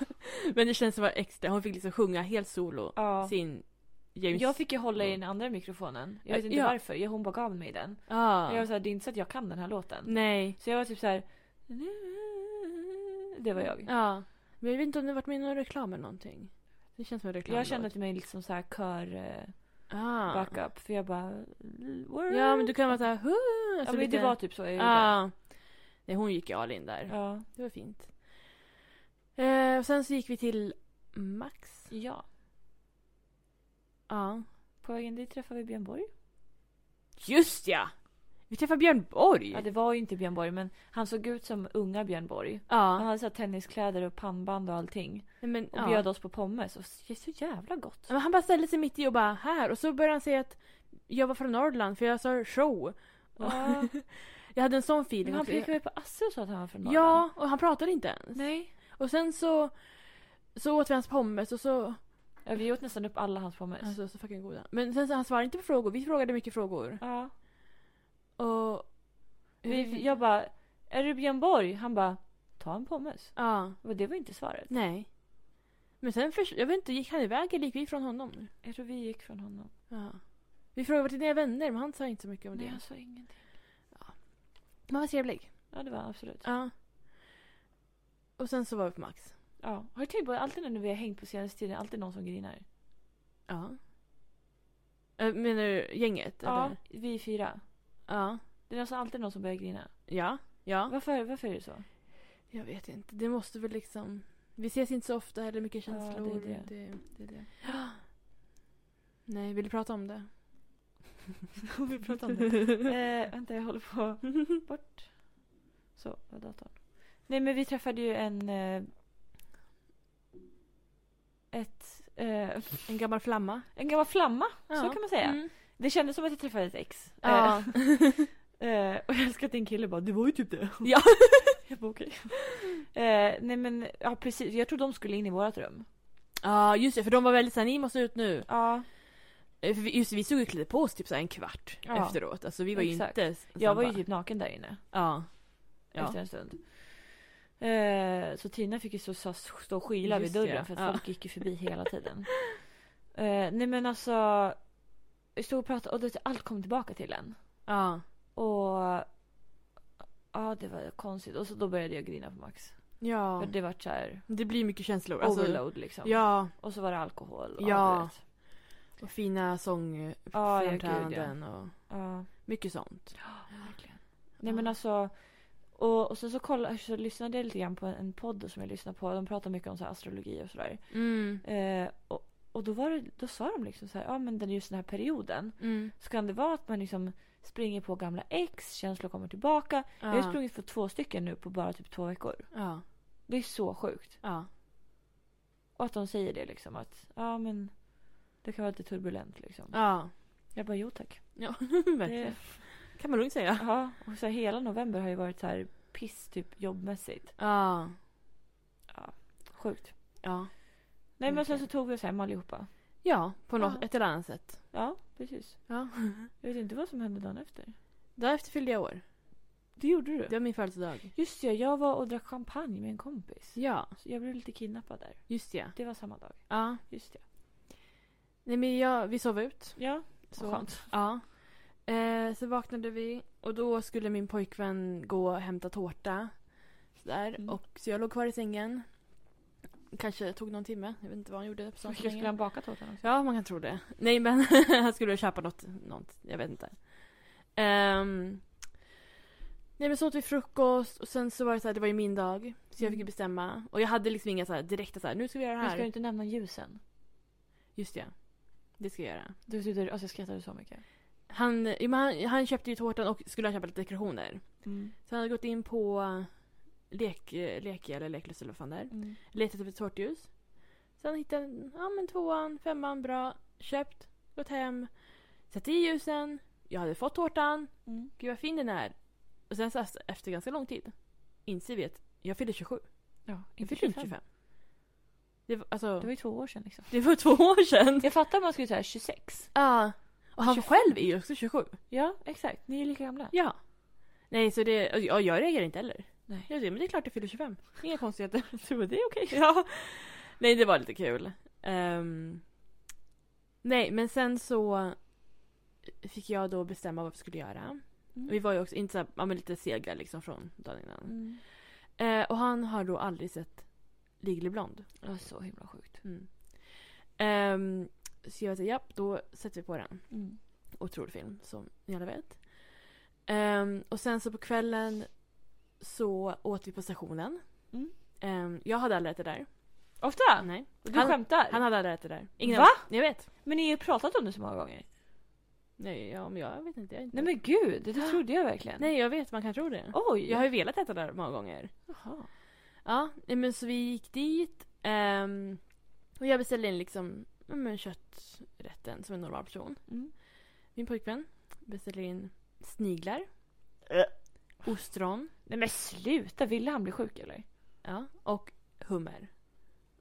Speaker 2: Men det känns som var extra. Hon fick liksom sjunga helt solo.
Speaker 1: Ja.
Speaker 2: Sin James...
Speaker 1: Jag fick ju hålla i den andra mikrofonen. Jag vet inte
Speaker 2: Mm. Ja.
Speaker 1: varför, jag- hon bara gav mig den.
Speaker 2: Ja. Mm.
Speaker 1: Jag var såhär, det är inte så att jag kan den här låten.
Speaker 2: Ah. Nej.
Speaker 1: Så jag var typ så här. Det var jag.
Speaker 2: Ja. Men jag vet inte om det varit med i någon reklam eller någonting. Det känns som en reklam.
Speaker 1: Jag kände till mig lite som såhär kör eh,
Speaker 2: ah.
Speaker 1: backup. För jag bara... Word.
Speaker 2: Ja, men du kan vara såhär... "Huh",
Speaker 1: Ja,
Speaker 2: Alltså
Speaker 1: men det var typ så jag gjorde.
Speaker 2: Ja. Nej, hon gick ju all in där.
Speaker 1: Ja.
Speaker 2: Det var fint. Eh, och sen så gick vi till Max.
Speaker 1: ja.
Speaker 2: Ja.
Speaker 1: På vägen dit träffade vi Björn Borg.
Speaker 2: Just ja! Vi träffade Björn Borg.
Speaker 1: Ja, det var ju inte Björn Borg, men han såg ut som unga Björn Borg.
Speaker 2: Ja.
Speaker 1: Han hade så här tenniskläder och pannband och allting.
Speaker 2: Nej, Men,
Speaker 1: Och
Speaker 2: ja.
Speaker 1: bjöd oss på pommes. Och det är så jävla gott. (laughs)
Speaker 2: Men han bara ställde sig mitt i och bara här. Och så började han säga att jag var från Norrland för jag sa show. Och
Speaker 1: Ja.
Speaker 2: jag hade en sån feeling.
Speaker 1: Men han
Speaker 2: också.
Speaker 1: pekade mig på Asse och sa att han var från Norrland.
Speaker 2: Ja, och han pratade inte ens.
Speaker 1: Nej.
Speaker 2: Och sen så, så åt vi hans pommes och så...
Speaker 1: Ja, vi åt nästan upp alla hans pommes.
Speaker 2: Alltså så fucking goda. Men sen så han svarade inte på frågor. Vi frågade mycket frågor.
Speaker 1: Ja.
Speaker 2: Och...
Speaker 1: Vi, jag bara, är du Björn Borg? Han bara, ta en pommes.
Speaker 2: Ja.
Speaker 1: Och det var inte svaret.
Speaker 2: Nej. Men sen, förs- jag vet inte, gick han iväg eller gick vi från honom nu?
Speaker 1: Jag tror vi gick från honom.
Speaker 2: Ja. Vi frågade vart dina vänner men han sa inte så mycket om
Speaker 1: Nej,
Speaker 2: det.
Speaker 1: han sa ingenting.
Speaker 2: Man var trevlig.
Speaker 1: Ja, det var han absolut.
Speaker 2: Ja. Och sen så var vi på Max.
Speaker 1: Ja. Har du tänkt på att alltid när vi har hängt på senaste tiden, alltid någon som grinar?
Speaker 2: Ja. Äh, Menar du gänget?
Speaker 1: Ja,
Speaker 2: Eller?
Speaker 1: vi är fyra.
Speaker 2: Ja.
Speaker 1: Det är nästan alltid någon som börjar grina.
Speaker 2: Ja. Ja.
Speaker 1: Varför, varför är det så?
Speaker 2: Jag vet inte. Det måste väl liksom... Vi ses inte så ofta eller mycket
Speaker 1: Ja, det är
Speaker 2: känslor.
Speaker 1: det.
Speaker 2: det, det, är det. (gasps) Nej, vill du prata om det?
Speaker 1: (laughs) vi pratar om det. eh, vänta, jag håller på.
Speaker 2: (laughs)
Speaker 1: Bort. Så, var datorn. Nej, men vi träffade ju en... Eh, ett... Eh,
Speaker 2: En gammal flamma.
Speaker 1: en gammal flamma, så
Speaker 2: Ja.
Speaker 1: kan man säga.
Speaker 2: Mm.
Speaker 1: Det kändes som att jag träffade ett ex.
Speaker 2: Ja. (laughs)
Speaker 1: Eh, (laughs) eh, och jag älskar att din kille bara, det var ju typ det.
Speaker 2: ja.
Speaker 1: (laughs) Jag bara, okej. eh, nej men, ja precis. Jag tror de skulle in i vårt rum.
Speaker 2: Ja, just det. För de var väldigt såhär, ni måste ut nu.
Speaker 1: Ja.
Speaker 2: Eh, För vi, just det, vi stod och klädde på oss typ såhär en kvart
Speaker 1: Ja.
Speaker 2: efteråt. Alltså vi var ju
Speaker 1: Exakt.
Speaker 2: inte s-
Speaker 1: Jag var ju
Speaker 2: snabba.
Speaker 1: typ naken där inne.
Speaker 2: Ja. Ja.
Speaker 1: efter en stund. Eh, så Tina fick ju stå, stå- stå och skyla vid
Speaker 2: Just
Speaker 1: dörren
Speaker 2: ja,
Speaker 1: för att
Speaker 2: ja.
Speaker 1: folk gick ju förbi hela
Speaker 2: (laughs)
Speaker 1: tiden. Eh, nej men alltså. Jag stod och pratade och det, allt kom tillbaka till en.
Speaker 2: Ja.
Speaker 1: Och ja det var konstigt. Och så då började jag grina på Max.
Speaker 2: Ja.
Speaker 1: För det var så här
Speaker 2: Det blir mycket känslor. Alltså,
Speaker 1: overload liksom.
Speaker 2: ja.
Speaker 1: Och så var det alkohol. Och
Speaker 2: Ja.
Speaker 1: du vet.
Speaker 2: Och fina
Speaker 1: Ja, ja,
Speaker 2: sångframträdanden och
Speaker 1: ja.
Speaker 2: mycket sånt.
Speaker 1: Nej men alltså. Och, och sen så, kolla, så lyssnade jag lite grann på en podd som jag lyssnade på. De pratar mycket om så här astrologi och sådär.
Speaker 2: Mm.
Speaker 1: Eh, och och då, var det, då sa de liksom så här, ja men den just den här perioden
Speaker 2: Mm.
Speaker 1: så kan det vara att man liksom springer på gamla ex, känslor kommer tillbaka. Jag har ju
Speaker 2: Ja.
Speaker 1: sprungit på två stycken nu på bara typ två veckor.
Speaker 2: Ja.
Speaker 1: Det är så sjukt.
Speaker 2: Ja.
Speaker 1: Och att de säger det liksom att, ja men det kan vara lite turbulent liksom.
Speaker 2: Ja.
Speaker 1: Jag bara, jo tack.
Speaker 2: Ja, (laughs)
Speaker 1: Det, Eh.
Speaker 2: verkligen. Kan man lugnt säga.
Speaker 1: (laughs) ja, och så här, hela november har ju varit så här piss typ jobbmässigt.
Speaker 2: Ja.
Speaker 1: Sjukt.
Speaker 2: Ja.
Speaker 1: Nej men sen
Speaker 2: Verkligen.
Speaker 1: så tog vi oss hem allihopa.
Speaker 2: Ja, på något,
Speaker 1: Ja.
Speaker 2: ett eller annat sätt.
Speaker 1: Ja, precis.
Speaker 2: Ja.
Speaker 1: Jag vet inte vad som hände dagen efter.
Speaker 2: Därefter fyllde jag år.
Speaker 1: Det gjorde du?
Speaker 2: Det var min födelsedag.
Speaker 1: Just det, jag var och drack champagne med en kompis.
Speaker 2: Ja,
Speaker 1: Så jag blev lite kidnappad där.
Speaker 2: just ja.
Speaker 1: Det var samma dag.
Speaker 2: Ja.
Speaker 1: Just det.
Speaker 2: Nej men jag, vi sov ut.
Speaker 1: Ja,
Speaker 2: Så.
Speaker 1: så skönt.
Speaker 2: Ja. Eh, så vaknade vi och då skulle min pojkvän gå och hämta tårta. Sådär.
Speaker 1: Mm.
Speaker 2: Och, så jag låg kvar i sängen. Kanske tog någon timme. Jag vet inte vad han gjorde. På sånt
Speaker 1: Kanske skulle han baka tårtan också?
Speaker 2: Ja, man kan tro det. Nej, men (laughs) han skulle väl köpa något, något. Jag vet inte. Ehm, nej, men så åt vi frukost och sen så var det så här, det var ju min dag. Så jag fick ju
Speaker 1: Mm.
Speaker 2: bestämma. Och jag hade liksom inga så här direkta så här, nu ska vi göra det
Speaker 1: Men
Speaker 2: här.
Speaker 1: ska du inte nämna ljusen?
Speaker 2: Just det. Det ska jag göra.
Speaker 1: Du, du, du, alltså jag skrattade så mycket.
Speaker 2: Han, jo, men han, han köpte ju tårtan och skulle han köpa lite dekorationer.
Speaker 1: Mm.
Speaker 2: Så han hade gått in på lek, lek eller leklust eller vad fan det är.
Speaker 1: Mm.
Speaker 2: Letat efter ett tårtljus. Sen hittade han ja, men tvåan, femman, bra. Köpt, gått hem. Satt i ljusen. Jag hade fått tårtan.
Speaker 1: Mm.
Speaker 2: Gud vad fin den är. Och sen så efter- efter ganska lång tid inser vi att jag fyller 27.
Speaker 1: Ja,
Speaker 2: Jag
Speaker 1: inte
Speaker 2: fyller inte
Speaker 1: 25.
Speaker 2: 25. Det var, alltså,
Speaker 1: Det var ju två år sedan liksom.
Speaker 2: det var två år sedan.
Speaker 1: Jag fattar om man skulle säga 26.
Speaker 2: Ja. Och han
Speaker 1: 25.
Speaker 2: själv är ju också 27.
Speaker 1: Ja, exakt. Ni är lika gamla.
Speaker 2: Ja. Nej, så det... och Jag, jag reagerar inte heller.
Speaker 1: Nej.
Speaker 2: Jag säger, men det är klart jag fyller 25. (laughs) Inga konstigheter.
Speaker 1: Så det är okej.
Speaker 2: ja. Nej, det var lite kul. Ehm, nej, men sen så fick jag då bestämma vad vi skulle göra.
Speaker 1: Mm.
Speaker 2: Vi var ju också inte så här, ja, men lite sega liksom från dagen innan.
Speaker 1: Mm.
Speaker 2: Eh, och han har då aldrig sett Legally Blond.
Speaker 1: Det var så himla sjukt.
Speaker 2: Mm. Ehm, så jag säger japp, då sätter vi på den.
Speaker 1: Mm.
Speaker 2: Otrolig film, som ni alla vet. Ehm, och sen så på kvällen så åt vi på stationen.
Speaker 1: Mm.
Speaker 2: Ehm, jag hade aldrig ätit där.
Speaker 1: Ofta?
Speaker 2: Nej.
Speaker 1: Du
Speaker 2: Han-
Speaker 1: skämtar?
Speaker 2: Han hade aldrig ätit där. Ingen
Speaker 1: Va?
Speaker 2: Jag vet.
Speaker 1: Men ni har ju pratat om det så många gånger.
Speaker 2: Nej, ja, men jag vet inte. Jag är inte.
Speaker 1: Nej men gud, det trodde jag verkligen.
Speaker 2: Nej, jag vet. Man kan tro det.
Speaker 1: Oj!
Speaker 2: Jag har ju velat äta där många gånger.
Speaker 1: Jaha.
Speaker 2: Ja, nej, men så vi gick dit. ehm, och jag beställde in liksom ja, men kötträtten som en normal person.
Speaker 1: Mm.
Speaker 2: Min pojkvän beställde in sniglar. Ostron.
Speaker 1: Nej men sluta, ville han bli sjuk eller?
Speaker 2: Ja, och hummer.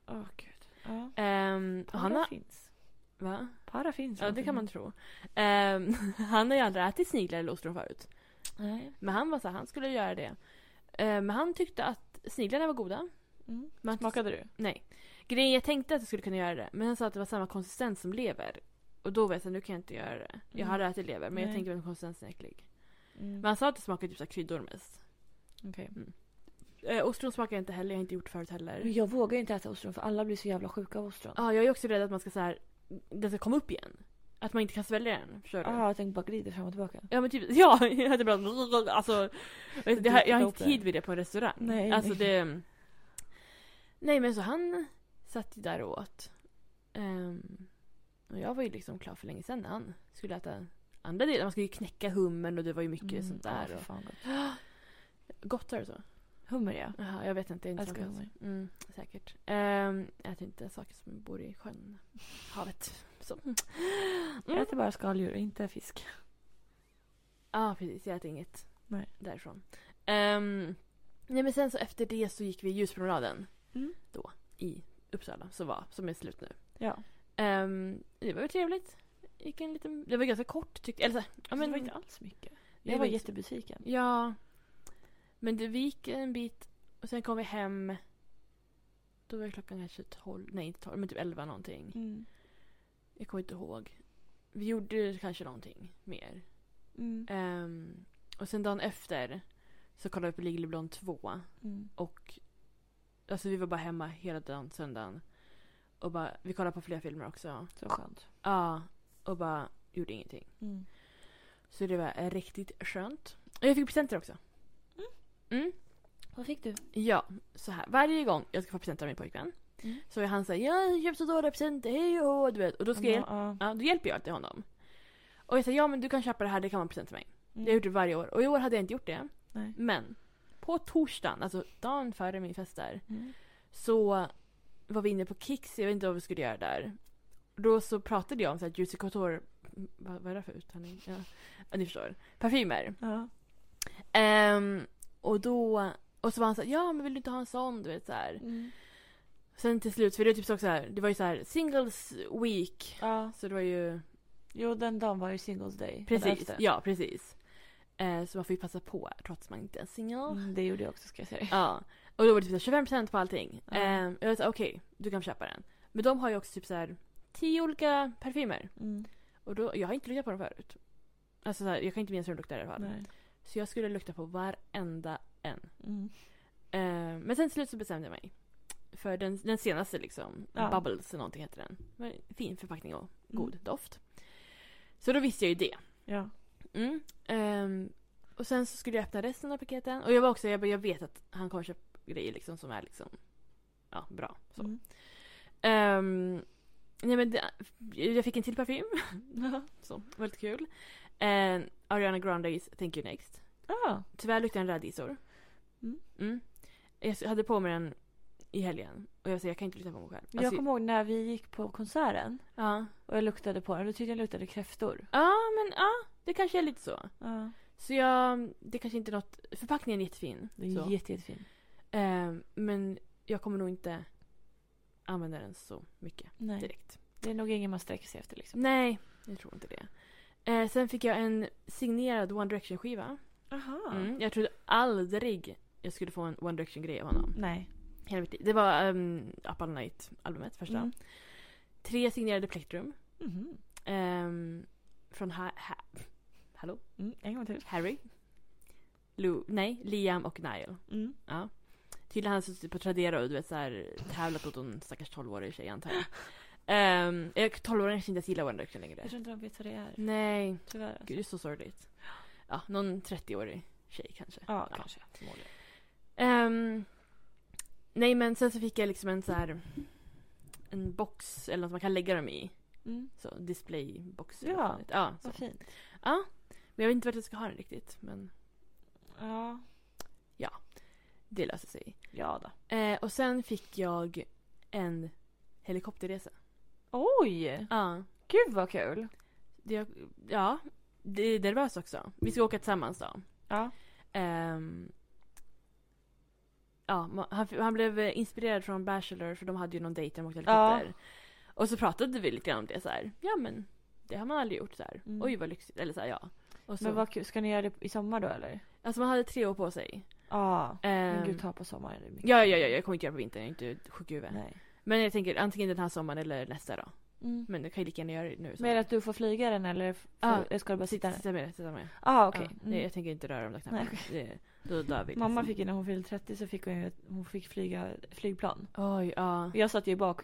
Speaker 1: Åh gud. Ja.
Speaker 2: Ehm, och
Speaker 1: Para
Speaker 2: han har...
Speaker 1: finns.
Speaker 2: Va?
Speaker 1: Para finns.
Speaker 2: Ja, det kan man tro. Ehm, (laughs) han har ju aldrig ätit sniglar eller ostron förut.
Speaker 1: Nej.
Speaker 2: Men han var så här, han skulle göra det. Ehm, men han tyckte att sniglarna var goda.
Speaker 1: Mm.
Speaker 2: Men
Speaker 1: Smakade du?
Speaker 2: Nej. Grejen jag tänkte att jag skulle kunna göra det. Men han sa att det var samma konsistens som lever. Och då var jag så här, nu kan jag inte göra det. Jag
Speaker 1: Mm.
Speaker 2: hade ätit lever men jag
Speaker 1: Nej.
Speaker 2: tänker att konsistensen är äcklig.
Speaker 1: Mm.
Speaker 2: Men han sa att det smakade typ så här kryddor mest.
Speaker 1: Okej.
Speaker 2: Mm. Eh, ostron smakar jag inte heller, jag har inte gjort förut heller.
Speaker 1: Men jag vågar ju inte äta ostron för alla blir så jävla sjuka av ostron.
Speaker 2: Ja, jag är också rädd att man ska så här, den ska komma upp igen. Att man inte kan svälja den. Förstår du?
Speaker 1: Ja, Ah, jag tänkte bara glider fram och tillbaka.
Speaker 2: Ja men typ, (laughs) ja! Jag hade bara, (laughs) alltså, jag, jag, har- jag har
Speaker 1: Dyker
Speaker 2: inte
Speaker 1: upp
Speaker 2: tid vid det på en restaurang.
Speaker 1: Nej.
Speaker 2: Alltså det... Nej men så han satt ju där och åt. Ehm, och jag var ju liksom klar för länge sedan när han skulle äta andra delar. Man skulle ju knäcka hummern och det var ju mycket sånt där.
Speaker 1: Ja, Mm. Ah, för
Speaker 2: och,
Speaker 1: fan gott. Mm.
Speaker 2: gottar och så.
Speaker 1: Hummer ja.
Speaker 2: Jaha, jag vet inte. Jag är inte
Speaker 1: Älskar
Speaker 2: sån.
Speaker 1: hummer.
Speaker 2: Mm, säkert. Ehm, jag äter inte saker som bor
Speaker 1: (laughs)
Speaker 2: i sjön, havet. Så.
Speaker 1: Jag
Speaker 2: Mm.
Speaker 1: äter bara skaldjur och inte fisk.
Speaker 2: Ja, precis. Jag äter inget
Speaker 1: Nej.
Speaker 2: därifrån. Ehm, nej, men sen så efter det så gick vi ljuspromenaden
Speaker 1: Mm.
Speaker 2: då i Uppsala som, var, som är slut nu.
Speaker 1: Ja.
Speaker 2: Ehm, det var väl trevligt. Gick en liten, det var ganska kort tyckte jag. Eller så, här, ja,
Speaker 1: men det var
Speaker 2: men,
Speaker 1: inte alls mycket.
Speaker 2: det
Speaker 1: Jag
Speaker 2: var
Speaker 1: var
Speaker 2: inte-
Speaker 1: jättebesviken.
Speaker 2: ja, men det, vi gick en bit och sen kom vi hem. Då var klockan kanske 12, nej inte 12, men typ 11 någonting.
Speaker 1: Mm.
Speaker 2: Jag kommer inte ihåg. Vi gjorde kanske någonting mer.
Speaker 1: Mm.
Speaker 2: Ehm, och sen dagen efter så kollade vi på Legally Blonde 2.
Speaker 1: Mm.
Speaker 2: Och alltså vi var bara hemma hela dagen söndagen. Och bara, vi kollade på flera filmer också.
Speaker 1: Så skönt.
Speaker 2: Ja. Och bara gjorde ingenting.
Speaker 1: Mm.
Speaker 2: Så det var eh, riktigt skönt. Och jag fick presenter också. Mm.
Speaker 1: Vad fick du?
Speaker 2: Ja, så här. Varje gång jag ska få presenter av min pojkvän.
Speaker 1: Mm.
Speaker 2: Så är han såhär, jag har köpt så dåliga presenter, hej och hå", du vet. Och då ska jag hjälpa,
Speaker 1: Ja, Mm.
Speaker 2: ja, då hjälper jag alltid honom. Och jag säger, ja men du kan köpa det här, det kan vara en present till mig.
Speaker 1: ja.
Speaker 2: Det har jag gjort det varje år. Och i år hade jag inte gjort det.
Speaker 1: Nej.
Speaker 2: Men på torsdagen, alltså dagen före min fest där.
Speaker 1: Mm.
Speaker 2: så var vi inne på Kicks, jag vet inte vad vi skulle göra där. Då så pratade jag om så här Juicy Couture, vad, vad är det för uttalning? Ja. ja, ni förstår. Parfymer.
Speaker 1: Ja.
Speaker 2: Ehm, och då, och så var han så här, ja men vill du inte ha en sån? Du vet så här.
Speaker 1: Mm.
Speaker 2: Sen till slut, för det var typ så också så här, det var ju så här singles week.
Speaker 1: ja.
Speaker 2: Så det var ju,
Speaker 1: Jo, den dagen var ju singles day. Den
Speaker 2: precis,
Speaker 1: elfte.
Speaker 2: ja precis. Eh, så man får ju passa på trots att man inte är singel.
Speaker 1: Mm, det gjorde jag också ska jag säga dig.
Speaker 2: Ja. Och då var det typ så här 25% på allting.
Speaker 1: Ja.
Speaker 2: Ehm, jag sa okej, du kan köpa den. Men de har ju också typ så här 10 olika parfymer.
Speaker 1: Mm.
Speaker 2: Och då, jag har inte luktat på dem förut. Alltså så här, jag kan inte minnas hur de luktar i alla fall.
Speaker 1: Nej.
Speaker 2: Så jag skulle lukta på varenda en.
Speaker 1: Mm.
Speaker 2: Ehm, men sen till slut så bestämde jag mig. För den, den senaste liksom,
Speaker 1: Ja.
Speaker 2: Bubbles eller någonting heter den. Det var en Fin förpackning och god doft. Så då visste jag ju det.
Speaker 1: Mm. Ja.
Speaker 2: Mm. Ehm, och sen så skulle jag öppna resten av paketen. Och jag var också, jag, bara, jag vet att han kommer köpa grejer liksom som är liksom, ja, bra. Så.
Speaker 1: Mm.
Speaker 2: Ehm, nej men det, jag fick en till parfym.
Speaker 1: Mm.
Speaker 2: så, väldigt kul. Ehm, Ariana Grandes Thank You Next.
Speaker 1: (laughs) Ah.
Speaker 2: Tyvärr luktar den rädisor.
Speaker 1: Mm.
Speaker 2: Mm. Jag hade på mig den i helgen. Och jag säger jag kan inte lukta på mig själv. Alltså,
Speaker 1: Jag kommer ihåg när vi gick på konserten
Speaker 2: ja.
Speaker 1: och jag luktade på den. Då tyckte jag luktade kräftor.
Speaker 2: ja, men ja. Det kanske är lite så.
Speaker 1: Ja.
Speaker 2: Så jag, det kanske inte är något, förpackningen är jättefin.
Speaker 1: Den
Speaker 2: så.
Speaker 1: är jätte, jättefin.
Speaker 2: Eh, men jag kommer nog inte använda den så mycket
Speaker 1: Nej. Det.
Speaker 2: direkt.
Speaker 1: är nog ingen man sträcker sig efter liksom.
Speaker 2: Nej, jag tror inte det. Eh, sen fick jag en signerad One Direction-skiva.
Speaker 1: Aha.
Speaker 2: Mm, jag trodde aldrig jag skulle få en One Direction-grej av honom.
Speaker 1: Nej.
Speaker 2: Hela mitt liv. Det var um, Up All Night-albumet, första.
Speaker 1: Mm.
Speaker 2: Tre signerade plektrum.
Speaker 1: Mhm.
Speaker 2: ehm, från ha ha Hallå?
Speaker 1: Mm. En gång till.
Speaker 2: Harry? Lou, nej, Liam och Niall.
Speaker 1: Mm.
Speaker 2: Ja. Tydligen har han suttit på Tradera och du vet, så här, tävlat åt en stackars 12-årig tjej antar jag. Ehm, jag 12-åringar kanske inte ens gillar One Direction längre.
Speaker 1: Jag tror inte de vet vad det är.
Speaker 2: Nej,
Speaker 1: Tyvärr. Alltså.
Speaker 2: gud det är så sorgligt. Ja, någon 30-årig tjej kanske.
Speaker 1: Ja,
Speaker 2: Ja.
Speaker 1: kanske. Förmodligen.
Speaker 2: Ehm, nej men sen så fick jag liksom en så här en box eller något man kan lägga dem i.
Speaker 1: Mm.
Speaker 2: Så displaybox.
Speaker 1: Ja,
Speaker 2: eller vad fan det heter. ja så.
Speaker 1: Vad fint.
Speaker 2: ja. Men jag vet inte vart jag ska ha den riktigt. Men
Speaker 1: Ja.
Speaker 2: det löser sig.
Speaker 1: Ja då.
Speaker 2: Eh, och sen fick jag en helikopterresa.
Speaker 1: Oj!
Speaker 2: Ja.
Speaker 1: Gud vad kul.
Speaker 2: Det, ja. Det är nervöst också. Vi ska åka tillsammans då.
Speaker 1: Ja.
Speaker 2: Ehm, ja, ma- han, han blev eh, inspirerad från Bachelor för de hade ju någon dejt där de åkte helikopter. Och så pratade vi lite grann om det så här. Ja men det har man aldrig gjort så här.
Speaker 1: Mm.
Speaker 2: Oj vad lyxigt. Eller så här, ja. Och så,
Speaker 1: Men vad kul. Ska ni göra det i sommar då eller?
Speaker 2: Alltså man hade tre år på sig.
Speaker 1: Ja. Men
Speaker 2: Ehm,
Speaker 1: gud, ta på sommaren. Det är mycket.
Speaker 2: ja, ja, ja, jag kommer inte göra det på vintern. Jag är inte sjuk i huvudet.
Speaker 1: Nej.
Speaker 2: Men jag tänker antingen den här sommaren eller nästa då.
Speaker 1: Mm.
Speaker 2: Men det kan ju lika gärna göra det nu. så.
Speaker 1: Mer att du får flyga den eller f-
Speaker 2: Ja.
Speaker 1: får, ska du bara sitta
Speaker 2: Sitta,
Speaker 1: där?
Speaker 2: sitta med det, sitta med det.
Speaker 1: Ah, okej.
Speaker 2: Ja,
Speaker 1: Mm.
Speaker 2: nej, jag tänker inte röra de där knapparna.
Speaker 1: Nej,
Speaker 2: Det, då dör vi.
Speaker 1: Mamma
Speaker 2: liksom.
Speaker 1: fick ju när hon fyllde 30 så fick hon ju hon fick flyga flygplan.
Speaker 2: Oj, ja.
Speaker 1: Jag satt ju bak,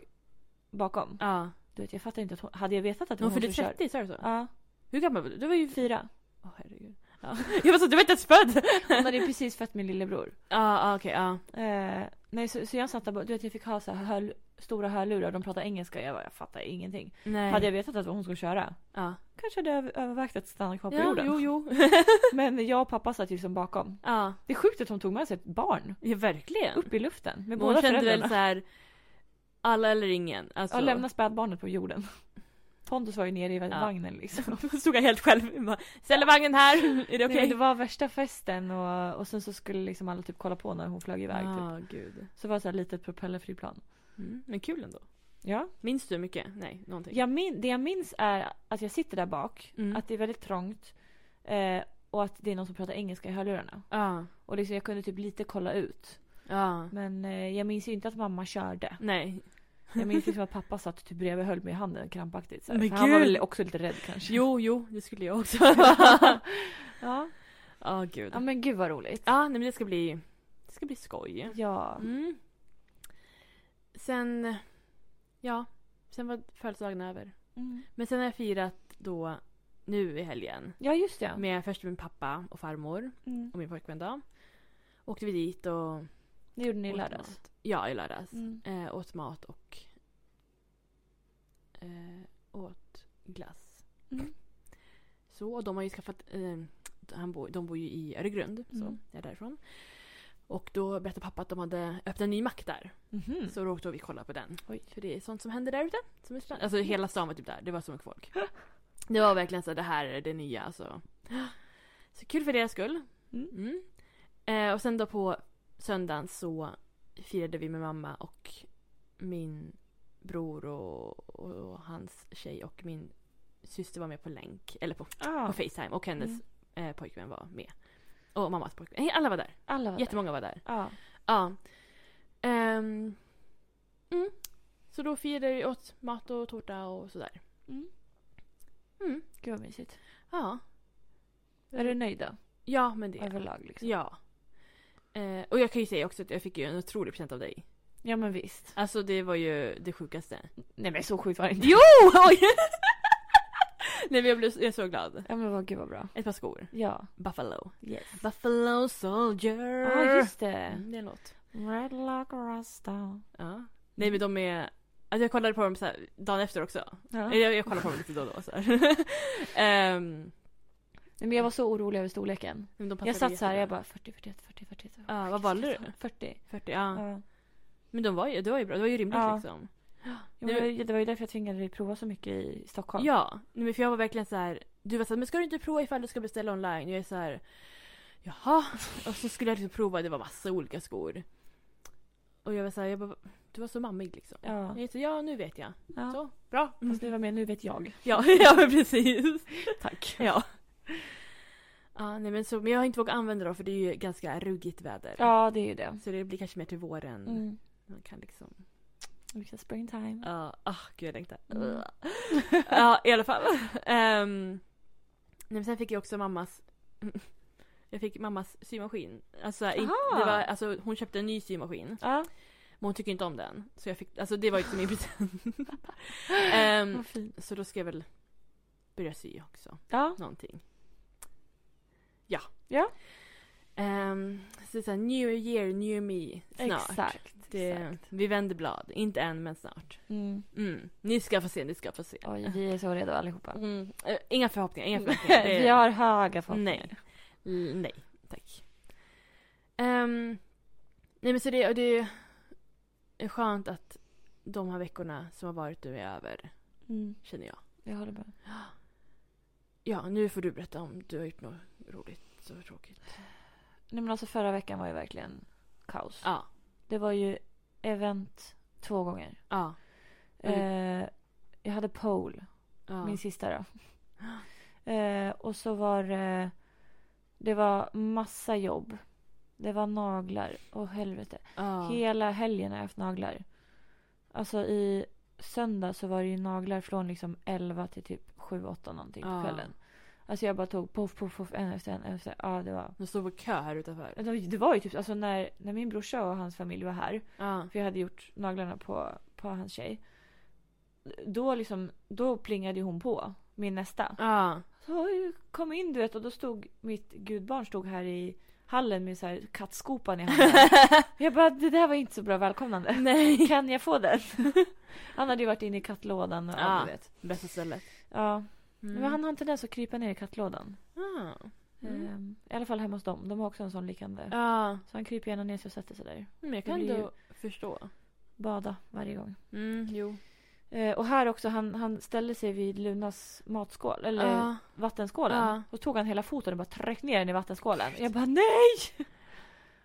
Speaker 1: bakom.
Speaker 2: Ja.
Speaker 1: Du vet, jag fattar inte att hon, hade jag vetat att
Speaker 2: Hon
Speaker 1: var
Speaker 2: fyllde
Speaker 1: som kör-
Speaker 2: 30, sa du så?
Speaker 1: Ja,
Speaker 2: Hur gammal var du? Du var ju...
Speaker 1: fyra.
Speaker 2: Åh herregud. Ja. (laughs) Jag var så, du var inte ens (laughs) född!
Speaker 1: Hon hade ju precis fött min lillebror.
Speaker 2: Ja, ja, okej, ja.
Speaker 1: Eh, nej, så, så jag satt där, bara- du vet jag fick ha så här hör, stora hörlurar, de pratade engelska, jag, bara, jag fattar ingenting.
Speaker 2: Nej.
Speaker 1: Hade jag vetat att det var hon skulle köra,
Speaker 2: Ja.
Speaker 1: kanske hade jag över- övervägt att stanna kvar på
Speaker 2: Ja,
Speaker 1: jorden.
Speaker 2: jo, jo. (laughs)
Speaker 1: Men jag och pappa satt ju liksom bakom.
Speaker 2: ja.
Speaker 1: Det är sjukt att hon tog med sig ett barn
Speaker 2: ja, verkligen.
Speaker 1: upp i luften med
Speaker 2: Men
Speaker 1: båda
Speaker 2: hon kände
Speaker 1: föräldrarna.
Speaker 2: väl så här. alla eller ingen. Alltså,
Speaker 1: Jag lämnar spädbarnet på jorden. (laughs) Pontus var ju nere i
Speaker 2: Ja.
Speaker 1: vagnen
Speaker 2: (laughs)
Speaker 1: liksom.
Speaker 2: (laughs) stod jag helt själv. Bara, Ställer vagnen (laughs) här, är det
Speaker 1: Nej, men
Speaker 2: okej?
Speaker 1: det var värsta festen och, och sen så skulle liksom alla typ kolla på när hon flög iväg. Typ.
Speaker 2: ah, gud.
Speaker 1: Så var det så här litet propellerflygplan.
Speaker 2: Mm. Men kul ändå.
Speaker 1: Ja.
Speaker 2: Minns du mycket? Nej, någonting.
Speaker 1: Jag min, det jag minns är att jag sitter där bak,
Speaker 2: Mm.
Speaker 1: att det är väldigt trångt eh, och att det är någon som pratar engelska i hörlurarna.
Speaker 2: Ja.
Speaker 1: Och liksom, jag kunde typ lite kolla ut.
Speaker 2: Ja.
Speaker 1: Men eh, jag minns ju inte att mamma körde.
Speaker 2: Nej.
Speaker 1: Jag minns liksom att pappa satt typ bredvid och höll mig i handen krampaktigt. Så här.
Speaker 2: Men
Speaker 1: För han var
Speaker 2: gud!
Speaker 1: väl också lite rädd kanske.
Speaker 2: Jo, jo, det skulle
Speaker 1: (laughs)
Speaker 2: jag också.
Speaker 1: ja. (laughs)
Speaker 2: (laughs)
Speaker 1: ja.
Speaker 2: Ja, gud. Ja,
Speaker 1: men gud vad roligt.
Speaker 2: nej men det ska bli, det ska bli skoj.
Speaker 1: Ja.
Speaker 2: Mm. Sen, ja, sen var födelsedagen över.
Speaker 1: Mm.
Speaker 2: Men sen har jag firat då nu i helgen.
Speaker 1: Ja just det.
Speaker 2: Med först min pappa och farmor
Speaker 1: Mm.
Speaker 2: och min pojkvän då. Åkte vi dit och...
Speaker 1: Det gjorde ni i
Speaker 2: åt
Speaker 1: lördags.
Speaker 2: mat. Ja, i lördags.
Speaker 1: Mm.
Speaker 2: Eh, åt mat och eh, åt glass.
Speaker 1: Mm.
Speaker 2: Så, och de har ju skaffat... Eh, han bo, de bor ju i Öregrund, så
Speaker 1: Mm.
Speaker 2: jag är därifrån. Och då berättade pappa att de hade öppnat en ny mack där.
Speaker 1: Mhm.
Speaker 2: Så då åkte vi och kollade på den.
Speaker 1: Oj.
Speaker 2: För det är sånt som händer där ute. Som är spännande. Alltså hela stan var typ där. Det var som
Speaker 1: (gasps)
Speaker 2: ett folk. Det var verkligen så här, det här är det nya. Alltså. (gasps) Så kul för deras skull.
Speaker 1: Mm.
Speaker 2: Mm. Eh, och sen då på söndagen så firade vi med mamma och min bror och, och hans tjej och min syster var med på länk. Eller på,
Speaker 1: Ah.
Speaker 2: på Facetime. Och hennes eh, pojkvän var med. Och mammas pojkvän. Eh, Alla var där.
Speaker 1: Alla var
Speaker 2: Jättemånga var där.
Speaker 1: där. Ja.
Speaker 2: Ja. Ehm, mm. Så då firade vi åt mat och tårta och sådär.
Speaker 1: Mm.
Speaker 2: Mm.
Speaker 1: Gud vad mysigt.
Speaker 2: Ja.
Speaker 1: Är du nöjd då?
Speaker 2: Ja, men det.
Speaker 1: Överlag liksom.
Speaker 2: Ja. Eh, och jag kan ju säga också att jag fick ju en otrolig present av dig.
Speaker 1: Ja men visst.
Speaker 2: Alltså det var ju det sjukaste.
Speaker 1: Nej men så sjukt var det inte.
Speaker 2: Jo! Oj! (laughs) Nej men jag blev jag är så glad.
Speaker 1: Ja men vad gud vad bra.
Speaker 2: Ett par skor.
Speaker 1: Ja.
Speaker 2: Buffalo.
Speaker 1: Yes.
Speaker 2: Buffalo soldier.
Speaker 1: Ja just det.
Speaker 2: Mm, det är en låt.
Speaker 1: Red lock rasta.
Speaker 2: Ja. Nej men de är... Alltså jag kollade på dem så här, dagen efter också.
Speaker 1: Ja.
Speaker 2: Jag, jag kollar på dem lite då och då. Så (laughs) här. um,
Speaker 1: Nej, Men jag var så orolig över storleken.
Speaker 2: de passade
Speaker 1: Jag satt så här
Speaker 2: jättebra.
Speaker 1: jag bara 40, 41, 40, 41.
Speaker 2: Ja, vad valde du?
Speaker 1: 40.
Speaker 2: 40, ja.
Speaker 1: Ja.
Speaker 2: Men de var ju, det var ju bra, det var ju rimligt
Speaker 1: Ja.
Speaker 2: liksom.
Speaker 1: Jo, men det- det var ju därför jag tvingade dig prova så mycket i Stockholm.
Speaker 2: Ja, nej, men för jag var verkligen så här. Du var såhär, men ska du inte prova ifall du ska beställa online? Jag är så här. jaha. Och så skulle jag liksom prova, det var massa olika skor. Och jag var såhär, jag bara, du var så mammig liksom.
Speaker 1: Ja.
Speaker 2: Jag är så, ja nu vet jag.
Speaker 1: Ja.
Speaker 2: Så, bra.
Speaker 1: Fast du var med, nu vet jag.
Speaker 2: Ja, (laughs) ja men precis.
Speaker 1: Tack.
Speaker 2: Ja. Ja, nej men så, men jag har inte vågat använda dem för det är ju ganska ruggigt väder.
Speaker 1: Ja det är ju det.
Speaker 2: Så det blir kanske mer till våren.
Speaker 1: Mm.
Speaker 2: Man kan liksom...
Speaker 1: Vilken springtime.
Speaker 2: Ja, ah, gud jag längtar.
Speaker 1: Mm.
Speaker 2: Ja, i alla fall. (laughs) Ehm, nej, men sen fick jag också mammas... (laughs) Jag fick mammas symaskin. Alltså, i-
Speaker 1: Aha.
Speaker 2: det var, alltså, hon köpte en ny symaskin.
Speaker 1: Ja,
Speaker 2: Men hon tycker inte om den. Så jag fick, alltså det var ju inte min (laughs) present. Ehm,
Speaker 1: vad fint.
Speaker 2: så då ska jag väl börja sy också.
Speaker 1: Ja,
Speaker 2: någonting. Ja.
Speaker 1: Ja.
Speaker 2: Ehm, så det är så här, new year, new me. Snart.
Speaker 1: exakt.
Speaker 2: Det,
Speaker 1: exakt.
Speaker 2: Vi vänder blad. Inte än, men snart.
Speaker 1: Mm.
Speaker 2: Mm. Ni ska få se, ni ska få se.
Speaker 1: Oj, vi är så redo allihopa.
Speaker 2: Mm. Eh, Inga förhoppningar,
Speaker 1: (laughs)
Speaker 2: inga förhoppningar. Det-
Speaker 1: Vi har höga förhoppningar.
Speaker 2: Nej. L- Nej, tack. Ehm, nej men så det, och det är skönt att de här veckorna som har varit nu är över,
Speaker 1: Mm,
Speaker 2: känner jag. (gasps)
Speaker 1: jag håller med.
Speaker 2: Ja, nu får du berätta om du har gjort något roligt och tråkigt.
Speaker 1: Nej men alltså förra veckan var ju verkligen kaos.
Speaker 2: Ja,
Speaker 1: Det var ju event två gånger.
Speaker 2: ja.
Speaker 1: Eh, jag hade pole,
Speaker 2: ja.
Speaker 1: min sista då. Eh, och så var det, det var massa jobb. Det var naglar, och helvete.
Speaker 2: Ja.
Speaker 1: Hela helgen har jag haft naglar. Alltså i söndag så var det ju naglar från liksom 11 till typ 7-8 någonting på
Speaker 2: Ja.
Speaker 1: kvällen. Alltså jag bara tog poff, poff, poff en efter en. Efter. Ja, det var...
Speaker 2: De stod på kö här utanför.
Speaker 1: Det var- Det var ju typ, alltså när, när min brorsa och hans familj var här.
Speaker 2: Ja.
Speaker 1: För jag hade gjort naglarna på, på hans tjej. Då liksom, då plingade ju hon på. Min nästa.
Speaker 2: Ja.
Speaker 1: Så kom in du vet och då stod mitt gudbarn stod här i hallen med så här kattskopan i handen.
Speaker 2: (laughs)
Speaker 1: Jag bara det där var inte så bra välkomnande.
Speaker 2: Nej.
Speaker 1: Kan jag få den? (laughs) Han hade ju varit inne i kattlådan och
Speaker 2: Ja.
Speaker 1: allt du vet.
Speaker 2: Bästa stället.
Speaker 1: Ja.
Speaker 2: Mm.
Speaker 1: Men han har en tendens att krypa ner i kattlådan.
Speaker 2: Ja. Mm.
Speaker 1: Ehm, I alla fall hemma hos dem. De har också en sån liknande.
Speaker 2: Ja.
Speaker 1: Så han kryper gärna ner sig och sätter sig där.
Speaker 2: Men jag
Speaker 1: Det
Speaker 2: kan
Speaker 1: blir
Speaker 2: ändå förstå.
Speaker 1: Bada varje gång.
Speaker 2: Mm, jo.
Speaker 1: Eh, och här också, han, han ställde sig vid Lunas matskål, eller
Speaker 2: Ja.
Speaker 1: vattenskålen.
Speaker 2: Ja.
Speaker 1: Och tog han hela foten och bara tryckte ner den i vattenskålen. Jag bara nej!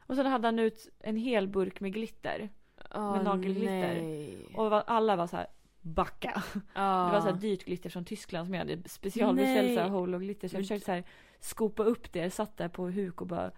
Speaker 1: Och sen hade han ut en hel burk med glitter.
Speaker 2: Ah,
Speaker 1: Med nagelglitter.
Speaker 2: nej.
Speaker 1: Och var- alla var så här backa.
Speaker 2: Ja.
Speaker 1: Det var så här dyrt glitter från Tyskland som jag hade specialbeställt
Speaker 2: Nej.
Speaker 1: så här holo glitter. Så jag
Speaker 2: Men-
Speaker 1: försökte så här skopa upp det, satt där på huk och bara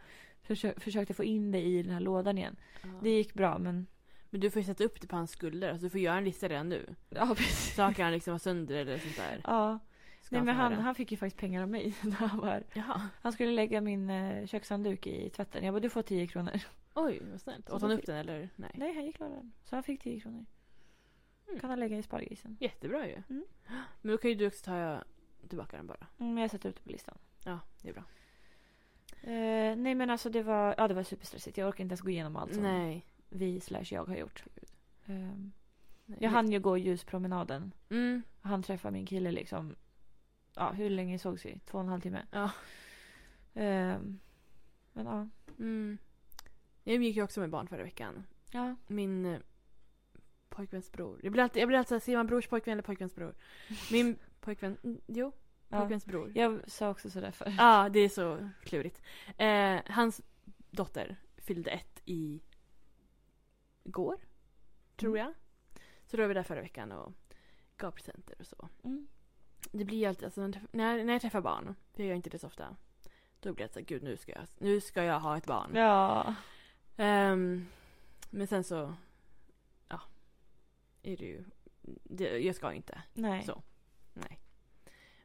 Speaker 1: försö- försökte få in det i den här lådan igen.
Speaker 2: Ja.
Speaker 1: Det gick bra men
Speaker 2: Men du får ju sätta upp det på hans skulder. Alltså, du får göra en lista redan nu.
Speaker 1: ja precis.
Speaker 2: Saker han liksom var sönder eller
Speaker 1: (laughs)
Speaker 2: sånt där.
Speaker 1: Ja.
Speaker 2: Ska
Speaker 1: Nej men
Speaker 2: få
Speaker 1: han,
Speaker 2: höra.
Speaker 1: han fick ju faktiskt pengar av mig (laughs) när han var här.
Speaker 2: Jaha.
Speaker 1: Han skulle lägga min eh, kökshandduk i tvätten. Jag bara du får 10 kronor.
Speaker 2: Oj, vad snällt.
Speaker 1: Så
Speaker 2: Åt han
Speaker 1: då
Speaker 2: upp
Speaker 1: fick-
Speaker 2: den eller? Nej.
Speaker 1: Nej han gick klar den. Så han fick 10 kronor.
Speaker 2: Mm.
Speaker 1: Kan han lägga i spargrisen.
Speaker 2: Jättebra ju.
Speaker 1: Mm.
Speaker 2: Men då kan ju du också ta tillbaka den bara.
Speaker 1: Mm, jag sätter ut det på listan.
Speaker 2: Ja, det är bra.
Speaker 1: Eh, nej men alltså det var, ja, det var superstressigt. Jag orkar inte ens gå igenom allt som
Speaker 2: Nej.
Speaker 1: vi slash jag har gjort. Ehm,
Speaker 2: Nej.
Speaker 1: jag hann ju gå ljuspromenaden.
Speaker 2: Mm.
Speaker 1: Han träffade min kille liksom. Ja, hur länge sågs vi? Två och en halv timme.
Speaker 2: Ja.
Speaker 1: Ehm, men ja.
Speaker 2: Mm. Jag gick ju också med barn förra veckan.
Speaker 1: Ja.
Speaker 2: min eh, pojkväns bror. Jag blir alltid, jag blir alltid såhär, säger man brors pojkvän eller pojkväns bror? Min pojkvän, mm, jo,
Speaker 1: Ja.
Speaker 2: pojkväns bror. Ja,
Speaker 1: Jag sa också sådär för.
Speaker 2: det är så klurigt. Eh, hans dotter fyllde ett i går, tror jag. Så då var vi där förra veckan och gav presenter och så.
Speaker 1: Mm.
Speaker 2: Det blir ju alltid, alltså, när jag träff- när, när jag träffar barn, för jag gör inte det så ofta, då blir det såhär, gud nu ska, jag, nu ska jag ha ett barn.
Speaker 1: Ja.
Speaker 2: Ehm, men sen så, ja, är det ju, det, jag ska ju inte.
Speaker 1: Nej.
Speaker 2: Så.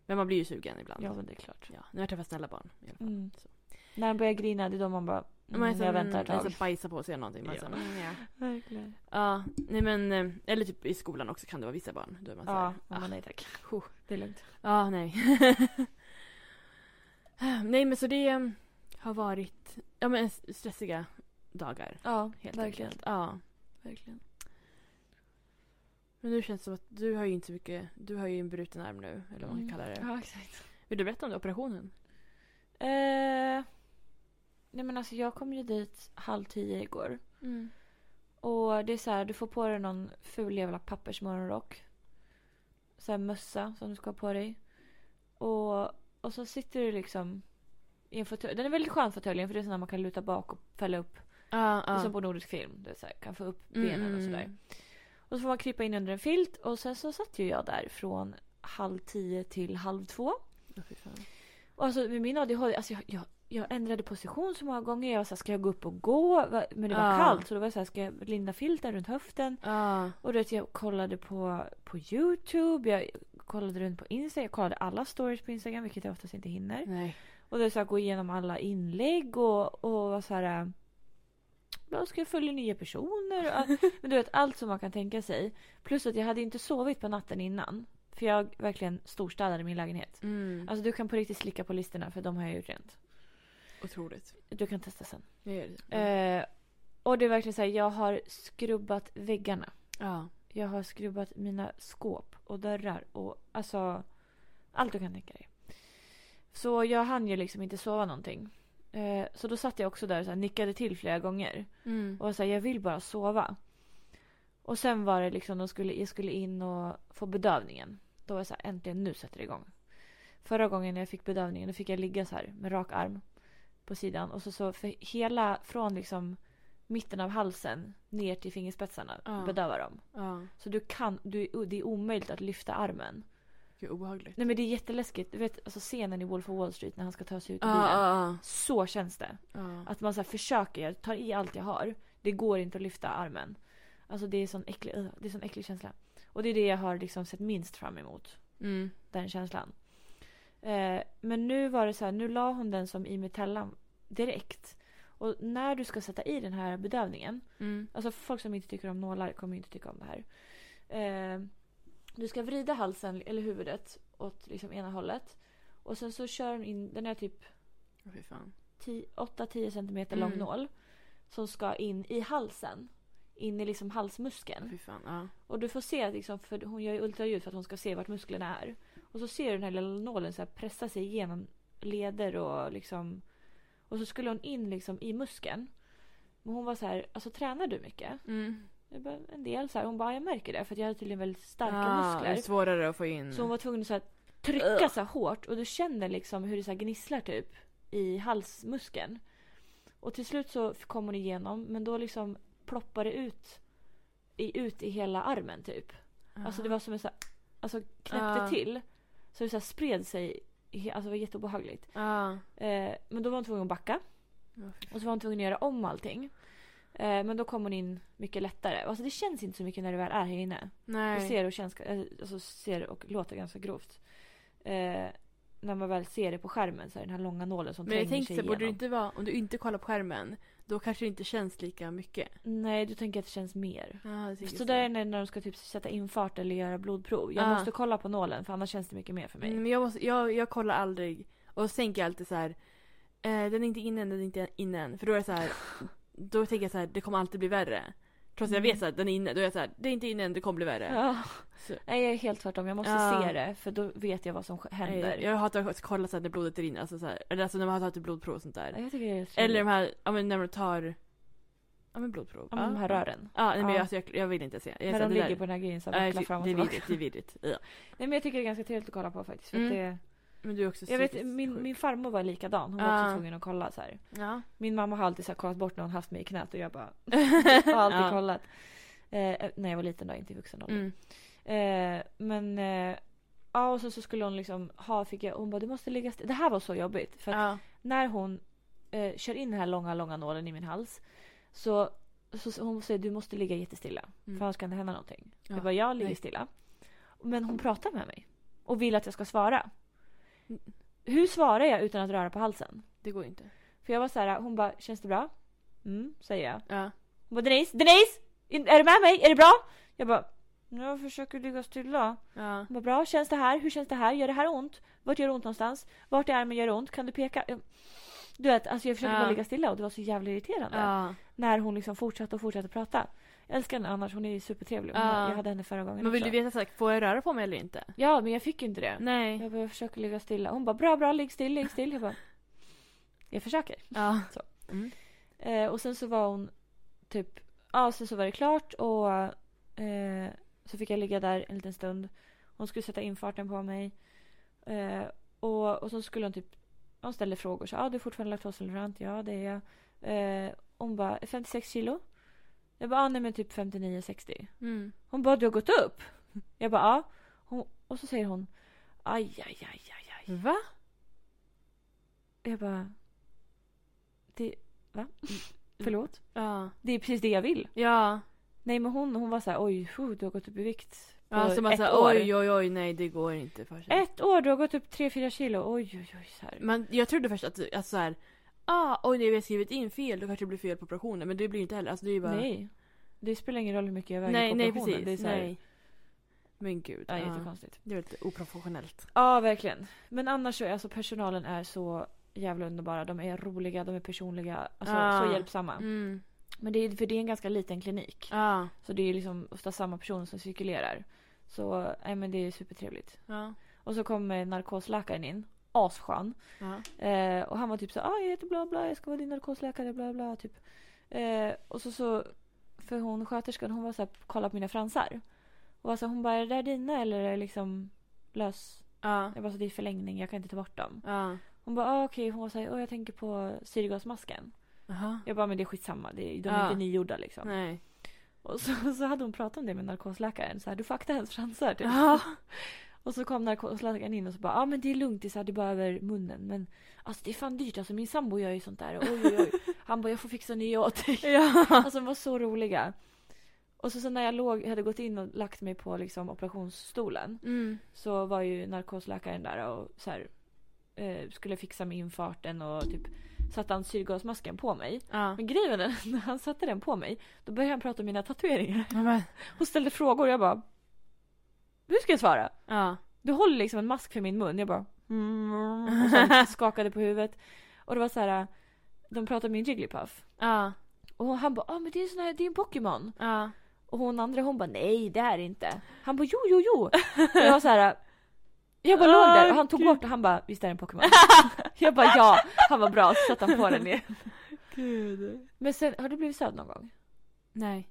Speaker 2: Men man blir ju sugen ibland.
Speaker 1: Ja men det är klart.
Speaker 2: Ja, nu har jag träffat snälla barn. I alla fall.
Speaker 1: Mm.
Speaker 2: Så.
Speaker 1: När han börjar grina det är då man bara, mm,
Speaker 2: Man är så-
Speaker 1: jag väntar ett
Speaker 2: man är
Speaker 1: tag.
Speaker 2: så bajsar liksom på sig eller någonting. Man är
Speaker 1: Ja.
Speaker 2: så, mm, ja.
Speaker 1: Verkligen.
Speaker 2: ja, nej men, eh, eller typ i skolan också kan det vara vissa barn. Då är man så
Speaker 1: Ja,
Speaker 2: här,
Speaker 1: man
Speaker 2: ah,
Speaker 1: bara, nej (laughs) tack. Det är lugnt.
Speaker 2: Ja, nej. (laughs) nej men så det eh, har varit, ja men stressiga dagar.
Speaker 1: Ja,
Speaker 2: Helt
Speaker 1: verkligen.
Speaker 2: enkelt. Ja.
Speaker 1: verkligen.
Speaker 2: Men nu känns det som att du har ju inte så mycket, du har ju en bruten arm nu, eller vad man kallar det.
Speaker 1: Mm. Ja, exakt.
Speaker 2: Vill du berätta om den operationen?
Speaker 1: Eh, nej men alltså jag kom ju dit halv tio igår.
Speaker 2: Mm.
Speaker 1: Och det är så här, du får på dig någon ful jävla pappersmorgonrock. Så här mössa som du ska ha på dig. Och, och så sitter du liksom i en fåtölj. Den är väldigt skön fåtöljen för det är sån här man kan luta bak och fälla upp.
Speaker 2: Ja,
Speaker 1: Det är
Speaker 2: ja.
Speaker 1: som på nordisk film. Det är så här, kan få upp
Speaker 2: Mm,
Speaker 1: benen och
Speaker 2: Ah, mm,
Speaker 1: sådär.
Speaker 2: mm.
Speaker 1: Och så får man krypa in under en filt och sen så satt ju jag där från halv tio till halv två.
Speaker 2: mm. Åh, fy fan.
Speaker 1: Och alltså med min ADHD, alltså jag, jag, jag ändrade position så många gånger. Jag var såhär, ska jag gå upp och gå? Va- Men det var
Speaker 2: Ja.
Speaker 1: kallt så då var jag såhär, ska jag linda filten runt höften?
Speaker 2: Ja.
Speaker 1: Och du vet, jag kollade på, på Youtube, jag kollade runt på Instagram, jag kollade alla stories på Instagram vilket jag oftast inte hinner.
Speaker 2: Nej.
Speaker 1: Och det är så här, gå igenom alla inlägg och, och var så här. äh, Jag ska följa nya personer. och all- Men du vet, allt som man kan tänka sig. Plus att jag hade inte sovit på natten innan. För jag verkligen storstädade min lägenhet.
Speaker 2: Mm.
Speaker 1: Alltså du kan på riktigt slicka på listorna för de har jag gjort rent.
Speaker 2: Otroligt.
Speaker 1: Du kan testa sen.
Speaker 2: Jag gör det.
Speaker 1: Eh, och det är verkligen så här, jag har skrubbat väggarna.
Speaker 2: Ja.
Speaker 1: Jag har skrubbat mina skåp och dörrar och alltså allt du kan tänka dig. Så jag hann ju liksom inte sova någonting. Eh, så då satt jag också där och så här, nickade till flera gånger.
Speaker 2: Mm.
Speaker 1: Och var så här, jag vill bara sova. Och sen var det liksom, de skulle, jag skulle in och få bedövningen. Då var jag så här, äntligen nu sätter det igång. Förra gången när jag fick bedövningen då fick jag ligga så här med rak arm på sidan. Och så, så för hela, från liksom mitten av halsen ner till fingerspetsarna
Speaker 2: Ja.
Speaker 1: bedöva dem.
Speaker 2: Ja.
Speaker 1: Så du kan, du, det är omöjligt att lyfta armen.
Speaker 2: Gud, obehagligt.
Speaker 1: Nej men det är jätteläskigt. Du vet alltså scenen i Wolf of Wall Street när han ska ta sig ut ur
Speaker 2: Ja,
Speaker 1: bilen.
Speaker 2: ja,
Speaker 1: Så känns det.
Speaker 2: ja. Ja.
Speaker 1: Att man så här försöker, jag tar i allt jag har. Det går inte att lyfta armen. Alltså det är sån äcklig, ugh, det är sån äcklig känsla. Och det är det jag har liksom sett minst fram emot.
Speaker 2: Mm.
Speaker 1: Den känslan. Eh, men nu var det så här, nu la hon den som i metellan direkt. Och när du ska sätta i den här bedövningen.
Speaker 2: Mm.
Speaker 1: Alltså folk som inte tycker om nålar kommer ju inte tycka om det här. Eh, du ska vrida halsen eller huvudet åt liksom ena hållet. Och sen så kör den in, den är typ
Speaker 2: Åh, fy fan.
Speaker 1: 8-10 centimeter lång
Speaker 2: Mm.
Speaker 1: nål. Som ska in i halsen. In i liksom halsmuskeln.
Speaker 2: Åh, Fy fan. Ah. Ja.
Speaker 1: Och du får se, liksom, för hon gör ju ultraljud för att hon ska se vart musklerna är. Och så ser du den här lilla nålen så här pressa sig igenom leder och liksom... Och så skulle hon in liksom i muskeln. Men hon var så här, alltså tränar du mycket?
Speaker 2: Mm.
Speaker 1: Jag bara, en del så här. Hon bara, jag märker det för att jag har tydligen väldigt starka
Speaker 2: Ah, Det är
Speaker 1: muskler.
Speaker 2: svårare att få in.
Speaker 1: Så hon var tvungen att så här, trycka
Speaker 2: Ugh.
Speaker 1: så här hårt och du känner liksom hur det så här gnisslar typ i halsmuskeln. Och till slut så kom hon igenom men då liksom ploppar det ut i, ut i hela armen typ. Alltså det var som en så här, alltså knäppte
Speaker 2: Ah.
Speaker 1: till. Så det så här spred sig, i- alltså det var jätteobehagligt.
Speaker 2: Ja.
Speaker 1: Eh, men då var hon tvungen att backa.
Speaker 2: Ja, fy fan.
Speaker 1: Och så var hon tvungen att göra om allting. Eh, men då kom hon in mycket lättare. Alltså det känns inte så mycket när du väl är här inne. Du
Speaker 2: Nej.
Speaker 1: ser och, känns, eh, alltså ser och låter ganska grovt. Eh, när man väl ser det på skärmen, så här, den här långa nålen som
Speaker 2: Men jag
Speaker 1: tränger
Speaker 2: tänkte
Speaker 1: sig
Speaker 2: så här,
Speaker 1: igenom.
Speaker 2: borde du inte vara, om du inte kollar på skärmen, då kanske det inte känns lika mycket. Ah,
Speaker 1: Nej, du tänker att det känns mer.
Speaker 2: Ja, jag tänker
Speaker 1: Så där är det när de ska typ sätta infart eller göra blodprov. Jag
Speaker 2: Ah.
Speaker 1: måste kolla på nålen för annars känns det mycket mer för mig.
Speaker 2: Mm, Men jag, måste, jag, jag kollar aldrig. Och så tänker jag alltid så här. Eh, den är inte inne än, den är inte inne än. För då är det
Speaker 1: (laughs)
Speaker 2: så här. Då tänker jag så här, det kommer alltid bli värre. Trots att jag
Speaker 1: Mm.
Speaker 2: vet så här, den är inne. Då är jag så här, det är inte inne än, det kommer bli värre.
Speaker 1: Ja.
Speaker 2: Så-
Speaker 1: Nej, jag är helt tvärtom. Jag måste
Speaker 2: Ja.
Speaker 1: se det för då vet jag vad som sk-
Speaker 2: Ah. Nej,
Speaker 1: händer.
Speaker 2: eh, Jag hatar att kolla så här, när blodet rinner. Alltså, så här, eller alltså när man har tagit blodprov och sånt
Speaker 1: Ja,
Speaker 2: där.
Speaker 1: jag tycker det är
Speaker 2: Eller
Speaker 1: trevligt.
Speaker 2: de här, ja men när man tar, ja men blodprov.
Speaker 1: Ja, men de här rören.
Speaker 2: Ja, nej, men
Speaker 1: Ja.
Speaker 2: jag, alltså, jag, jag vill inte se. Jag, är
Speaker 1: När
Speaker 2: så här,
Speaker 1: de
Speaker 2: det
Speaker 1: ligger
Speaker 2: där-
Speaker 1: på den här grejen så
Speaker 2: Ja, jag
Speaker 1: vacklar
Speaker 2: tycker-
Speaker 1: fram och
Speaker 2: det är
Speaker 1: tillbaka.
Speaker 2: vidrigt, det är vidrigt. Ja.
Speaker 1: Nej, men jag tycker det är ganska trevligt att kolla på faktiskt. För
Speaker 2: Mm.
Speaker 1: att det,
Speaker 2: Men du är också
Speaker 1: jag vet,
Speaker 2: psykiskt
Speaker 1: min,
Speaker 2: sjuk.
Speaker 1: min farmor var likadan. Hon var också
Speaker 2: Ja.
Speaker 1: tvungen att kolla så här.
Speaker 2: Ja.
Speaker 1: Min mamma har alltid så här, kollat bort när hon haft mig i knät och (laughs) jag
Speaker 2: (laughs)
Speaker 1: bara har alltid
Speaker 2: Ja.
Speaker 1: kollat. Eh, när jag var liten då, inte i vuxen ålder.
Speaker 2: Mm.
Speaker 1: Eh, men eh, ja, och så, så skulle hon liksom ha, fick jag, hon bara du måste ligga still. Det här var så jobbigt. För att
Speaker 2: Ja.
Speaker 1: när hon eh, kör in den här långa, långa nålen i min hals så, så, så hon säger du måste ligga jättestilla
Speaker 2: Mm.
Speaker 1: för annars kan det hända någonting.
Speaker 2: Ja,
Speaker 1: Jag bara, jag ligger
Speaker 2: nej.
Speaker 1: stilla. Men hon pratar med mig och vill att jag ska svara.
Speaker 2: Mm.
Speaker 1: Hur svarar jag utan att röra på halsen?
Speaker 2: Det går inte.
Speaker 1: För jag var så här, hon bara, känns det bra? Mm, säger jag.
Speaker 2: Ja.
Speaker 1: Hon bara, Denise, Denise! in- Är du med mig? Är det bra? Jag bara, jag försöker ligga stilla.
Speaker 2: Ja.
Speaker 1: Hon bara, bra, känns det här? Hur känns det här? Gör det här ont? Vart gör det ont någonstans? Vart i armen gör det ont? Kan du peka? Jag- Du vet, alltså jag försöker
Speaker 2: Ja.
Speaker 1: bara ligga stilla och det var så jävla irriterande.
Speaker 2: ja.
Speaker 1: När hon liksom fortsatte och fortsatte prata. Jag älskar henne annars, hon är ju supertrevlig. Hon
Speaker 2: Ja.
Speaker 1: var- Jag hade henne förra gången
Speaker 2: Men vill
Speaker 1: också.
Speaker 2: du veta så här, får jag röra på mig eller inte?
Speaker 1: Ja, men jag fick ju inte det.
Speaker 2: Nej.
Speaker 1: Jag, bara, jag försöker ligga stilla. Hon bara, bra, bra, ligg still, ligg still. Jag bara, jag försöker.
Speaker 2: Ja.
Speaker 1: Eh, och sen så var hon typ, ja sen så var det klart och eh, så fick jag ligga där en liten stund. Hon skulle sätta infarten på mig. Eh, och, och så skulle hon typ, hon ställde frågor. Så, ja ah, du är fortfarande laktosintolerant? Ja det är jag. Eh, hon bara, 56 kilo? Jag bara, ah, nej men typ 59-60.
Speaker 2: Mm.
Speaker 1: Hon bara, du har gått upp? Jag bara, ja. Hon, och så säger hon, aj, aj, aj, aj, aj.
Speaker 2: Va?
Speaker 1: Jag bara... Det, va? Förlåt?
Speaker 2: Ja.
Speaker 1: Det är precis det jag vill.
Speaker 2: Ja.
Speaker 1: Nej men hon, hon var så här, oj, hu, du har gått upp i vikt på
Speaker 2: Ja, så Alltså, man
Speaker 1: ett
Speaker 2: säger
Speaker 1: år.
Speaker 2: oj, oj, oj, nej det går inte för sig.
Speaker 1: Ett år, du har gått upp 3-4 kilo. Oj, oj, oj. Så här.
Speaker 2: Men jag trodde först att, att så här, ah, oj nej vi har skrivit in fel, då kanske det blir fel på operationen. Men det blir inte heller, alltså det är ju bara...
Speaker 1: Nej. Det spelar ingen roll hur mycket jag väger
Speaker 2: nej,
Speaker 1: på
Speaker 2: nej
Speaker 1: operationen.
Speaker 2: precis.
Speaker 1: Det är så här,
Speaker 2: nej. Men gud.
Speaker 1: Ja,
Speaker 2: Ja,
Speaker 1: jättekonstigt.
Speaker 2: det är lite oprofessionellt.
Speaker 1: Ja, verkligen. Men annars så är alltså personalen är så jävla underbara. De är roliga, de är personliga. Alltså
Speaker 2: Ja.
Speaker 1: så hjälpsamma.
Speaker 2: Mm.
Speaker 1: Men det är, för det är en ganska liten klinik.
Speaker 2: Ja.
Speaker 1: Så det är liksom ofta samma personer som cirkulerar. Så nej, men det är supertrevligt.
Speaker 2: Ja.
Speaker 1: Och så kommer narkosläkaren in. Asskön.
Speaker 2: Ja.
Speaker 1: Eh, och han var typ så ah, jag heter bla bla, jag ska vara din narkosläkare, bla bla. Typ. Eh, och så, så, för hon sköterskan, hon var så här, kolla på mina fransar. Och alltså, hon bara, är det där dina eller är det liksom lös?
Speaker 2: Ja.
Speaker 1: Jag bara, så det är förlängning, jag kan inte ta bort dem.
Speaker 2: Ja.
Speaker 1: Hon bara, ah, okej, hon var så här, "Åh, jag tänker på syrgasmasken.
Speaker 2: Jaha.
Speaker 1: Jag bara, men det är skitsamma, det är, de är
Speaker 2: Ja.
Speaker 1: inte nygjorda liksom.
Speaker 2: Nej.
Speaker 1: Och så, så hade hon pratat om det med narkosläkaren, så här, du får akta hennes fransar typ.
Speaker 2: Ja.
Speaker 1: Och så kom narkosläkaren in och så bara, ja ah, men det är lugnt, det är, så här, det är bara över munnen. Men alltså det är fan dyrt, alltså min sambo gör ju (laughs) sånt där. Oj, oj, oj. Han bara, jag får fixa nya åt dig.
Speaker 2: (laughs) Ja.
Speaker 1: Alltså de var så roliga. Och så, så när jag låg, hade gått in och lagt mig på liksom, operationsstolen
Speaker 2: Mm.
Speaker 1: så var ju narkosläkaren där och så här, eh, skulle fixa med infarten och typ satte han syrgasmasken på mig.
Speaker 2: Ja.
Speaker 1: Men grejen är, (laughs) när han satte den på mig då började han prata om mina tatueringar (laughs)
Speaker 2: Ja, men-
Speaker 1: och ställde frågor och jag bara Hur ska jag svara?
Speaker 2: Ja.
Speaker 1: Du håller liksom en mask för min mun. Jag bara mm, och (laughs) sen skakade på huvudet. Och det var så här, de pratade om min Jigglypuff.
Speaker 2: (laughs) Ja.
Speaker 1: Och han bara, ah, men det är ju sån här, det är en Pokémon.
Speaker 2: Ja.
Speaker 1: Och hon andra hon bara, nej det är det inte. Han bara, jo jo jo. Och jag var så här, jag bara låg där och han tog bort och han bara, visst är det en Pokémon? (laughs) jag bara ja. Han var bra, så satte han på den igen.
Speaker 2: Gud.
Speaker 1: Men sen, har du blivit sövd någon gång?
Speaker 2: Nej.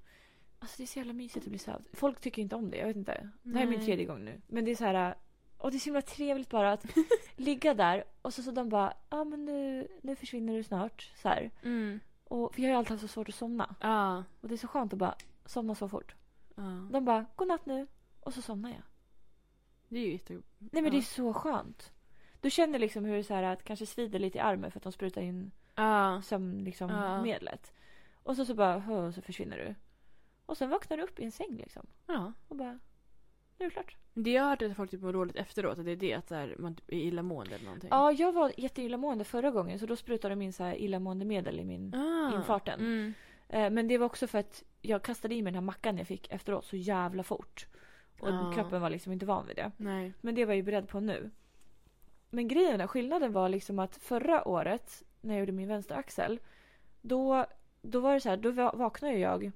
Speaker 1: Alltså det är så jävla mysigt att bli sövd. Folk tycker inte om det, jag vet inte. Det här är min
Speaker 2: Nej.
Speaker 1: tredje gång nu. Men det är så här... Och det är så himla trevligt bara (laughs) att ligga där och så, så de bara ja ah, men nu, nu försvinner du snart. Så här.
Speaker 2: Mm.
Speaker 1: Och, för jag har ju alltid haft så svårt att somna.
Speaker 2: Ja.
Speaker 1: Och det är så skönt att bara somna så fort.
Speaker 2: ja.
Speaker 1: De bara godnatt nu och så somnar jag.
Speaker 2: Det är ju jätte...
Speaker 1: Nej men
Speaker 2: Ja.
Speaker 1: det är så skönt. Du känner liksom hur det är så här att kanske svider lite i armen för att de sprutar in
Speaker 2: Ja.
Speaker 1: sömnmedlet. Liksom,
Speaker 2: Ja.
Speaker 1: medlet. Och så, så bara hö, så försvinner du. Och sen vaknar du upp i en säng liksom.
Speaker 2: Ja.
Speaker 1: Och bara nu är det klart.
Speaker 2: Men Det jag har hört är att folk typ mår dåligt efteråt. Att det är det att så här, man typ är illamående eller någonting.
Speaker 1: Ja, jag var jätteillamående förra gången så då sprutade de in så här illamående medel i min...
Speaker 2: Ah.
Speaker 1: Infarten.
Speaker 2: Mm.
Speaker 1: Eh, men det var också för att jag kastade i mig den här mackan jag fick efteråt så jävla fort. Och
Speaker 2: Ja.
Speaker 1: kroppen var liksom inte van vid det.
Speaker 2: Nej.
Speaker 1: Men det var jag ju beredd på nu. Men grejen, är- skillnaden var liksom att förra året när jag gjorde min vänstra axel då, då var det så här, då va- vaknade ju jag.